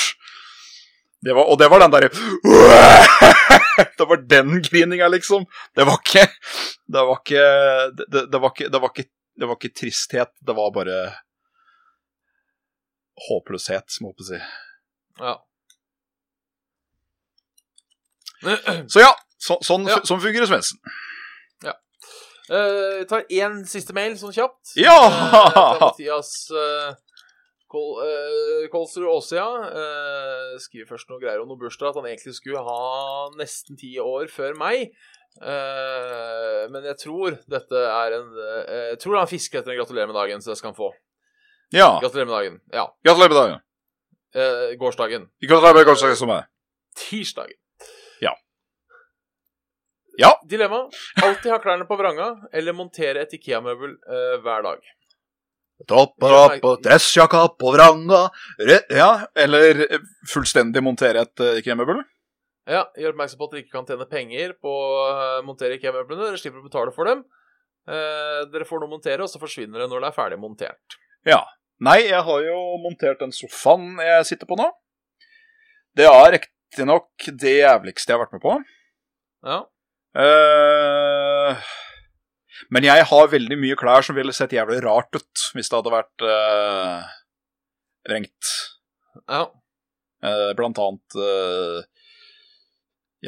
Speaker 3: Det var, og det var den derre Det var den grininga, liksom. Det var ikke Det var ikke det, det- det var ikke, det var ikke, det var ikke tristhet, det var bare Håpløshet, må jeg si.
Speaker 2: Ja.
Speaker 3: Så ja, så, sånn,
Speaker 2: Ja.
Speaker 3: sånn fungerer Svendsen.
Speaker 2: Eh, Jeg tar én siste mail, sånn kjapt. Eh, fra
Speaker 3: Ja!
Speaker 2: Mathias eh, Kol- eh, Kolsrud Aasia eh, skriver først noe greier om noe bursdag, at han egentlig skulle ha nesten ti år før meg. Eh, men jeg tror dette er en eh, Jeg tror han fisker etter en gratulerer med dagen, så det skal han få.
Speaker 3: ja.
Speaker 2: Gratulerer med dagen. Ja.
Speaker 3: Gratulerer med dagen.
Speaker 2: eh, gårsdagen.
Speaker 3: Vi kan ta med kanskje som er.
Speaker 2: Tirsdagen.
Speaker 3: Ja. Ja.
Speaker 2: Dilemma. Alltid ha klærne på vranga, eller montere et Ikea-møbel eh, hver dag.
Speaker 3: Topper opp og dressjakka på vranga Re Ja, eller eh, fullstendig montere et eh, kremmøbel.
Speaker 2: Ja, Gjør oppmerksom på at dere ikke kan tjene penger på å eh, montere IKEA-møblene. Dere slipper å betale for dem. Eh, dere får noe å montere, og så forsvinner det når det er ferdig montert.
Speaker 3: Nei, jeg har jo montert den sofaen jeg sitter på nå. Det er riktignok det jævligste jeg har vært med på.
Speaker 2: Ja,
Speaker 3: Eh, men jeg har veldig mye klær som ville sett jævlig rart ut hvis det hadde vært eh, rengt.
Speaker 2: ja.
Speaker 3: Eh, blant annet eh,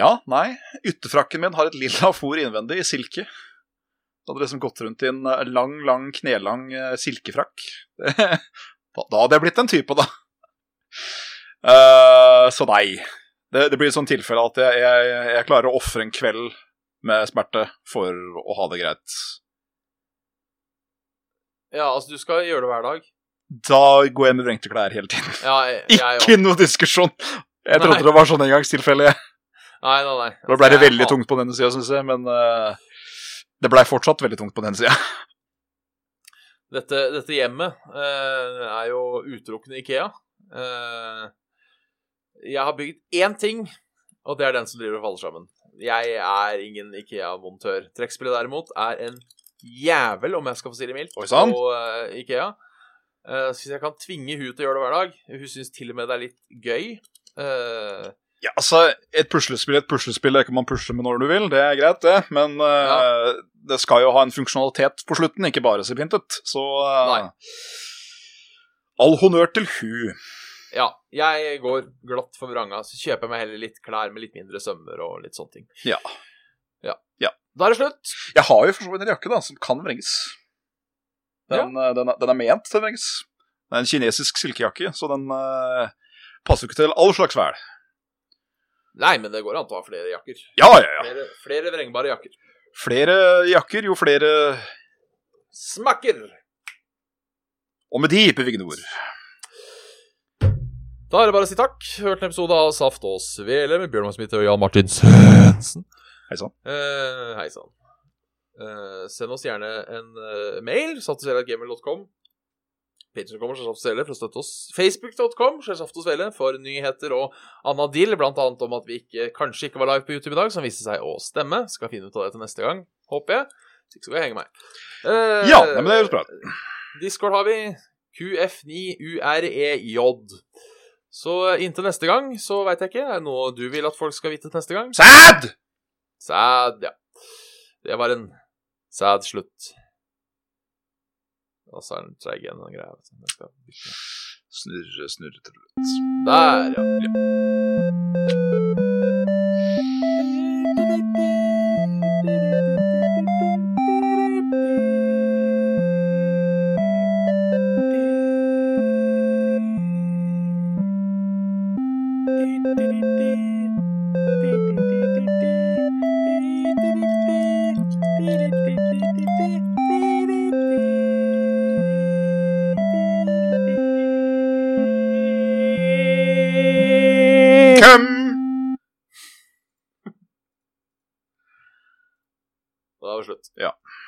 Speaker 3: Ja, nei. Ytterfrakken min har et lilla fòr innvendig i silke. Da hadde jeg liksom gått rundt i en eh, lang, lang, knelang eh, silkefrakk. da, da hadde jeg blitt en type, da. Eh, så nei. Det, det blir et sånt tilfelle at jeg, jeg, jeg klarer å ofre en kveld med smerte for å ha det greit.
Speaker 2: Ja, altså, du skal gjøre det hver dag.
Speaker 3: Da går jeg med vrengte klær hele tiden.
Speaker 2: Ja, jeg, jeg,
Speaker 3: Ikke noe diskusjon! Jeg trodde
Speaker 2: Nei.
Speaker 3: det var sånn engangstilfelle.
Speaker 2: Nei, nei, nei.
Speaker 3: Da ble det
Speaker 2: Altså, jeg
Speaker 3: veldig
Speaker 2: hat-
Speaker 3: tungt på denne sida, syns jeg, men eh, det blei fortsatt veldig tungt på den sida.
Speaker 2: Dette, dette hjemmet eh, er jo utelukkende Ikea. Eh, jeg har bygd én ting, og det er den som driver og faller sammen. Jeg er ingen Ikea-montør. Trekkspillet derimot er en jævel, om jeg skal få si det mildt,
Speaker 3: Oi, sann.
Speaker 2: på eh, Ikea. Eh, så hvis jeg kan tvinge hun til å gjøre det hver dag Hun syns til og med det er litt gøy. Eh,
Speaker 3: Ja, altså, et puslespill er et puslespill, det kan man pusle med når du vil, det er greit, det, men eh, det skal jo ha en funksjonalitet på slutten, ikke bare se pent ut, så eh,
Speaker 2: Nei.
Speaker 3: All honnør til hu.
Speaker 2: ja, jeg går glatt for vranga, så kjøper jeg meg heller litt klær med litt mindre sømmer og litt sånne ting.
Speaker 3: Ja.
Speaker 2: ja.
Speaker 3: Ja.
Speaker 2: Da er det slutt.
Speaker 3: Jeg har jo for så vidt en jakke da, som kan vrenges. Den, eh, den, er- den er ment til å vrenges. Det er en kinesisk silkejakke, så den eh, passer jo ikke til all slags vær.
Speaker 2: Nei, men det går an å ha flere jakker.
Speaker 3: Ja, ja, ja.
Speaker 2: Flere, flere vrengbare jakker.
Speaker 3: Flere jakker, jo flere
Speaker 2: Smakker!
Speaker 3: Og med de bevingede ord.
Speaker 2: Da er det bare å si takk. Hørt en episode av Saft og Svele med Bjørn Magnus Smith og Jan Martin Sørensen.
Speaker 3: Hei sann.
Speaker 2: Eh, Hei sann. Eh, send oss gjerne en eh, mail, saftosvele.gmil.com. Patreon kommer Saft og Svele for å støtte oss. Facebook.com skjer Saft og Svele for nyheter og Anna Dill, blant annet om at vi ikke, kanskje ikke var live på YouTube i dag, som viste seg å stemme. Skal finne ut av det til neste gang, håper jeg. Hvis ikke skal jeg henge meg. Eh,
Speaker 3: Ja, nei, men det høres bra ut.
Speaker 2: Discord har vi. QF9UREJ. E Så eh, inntil neste gang, så veit jeg ikke. Er det noe du vil at folk skal vite til neste gang?
Speaker 3: Sad!
Speaker 2: Sad, ja. Det var en sad slutt. Og så er den treig igjen, den greia. vet du. Jeg skal bytte.
Speaker 3: Snurre, snurre til
Speaker 2: Der, ja.
Speaker 3: Come!
Speaker 2: Da var det slutt.
Speaker 3: Ja.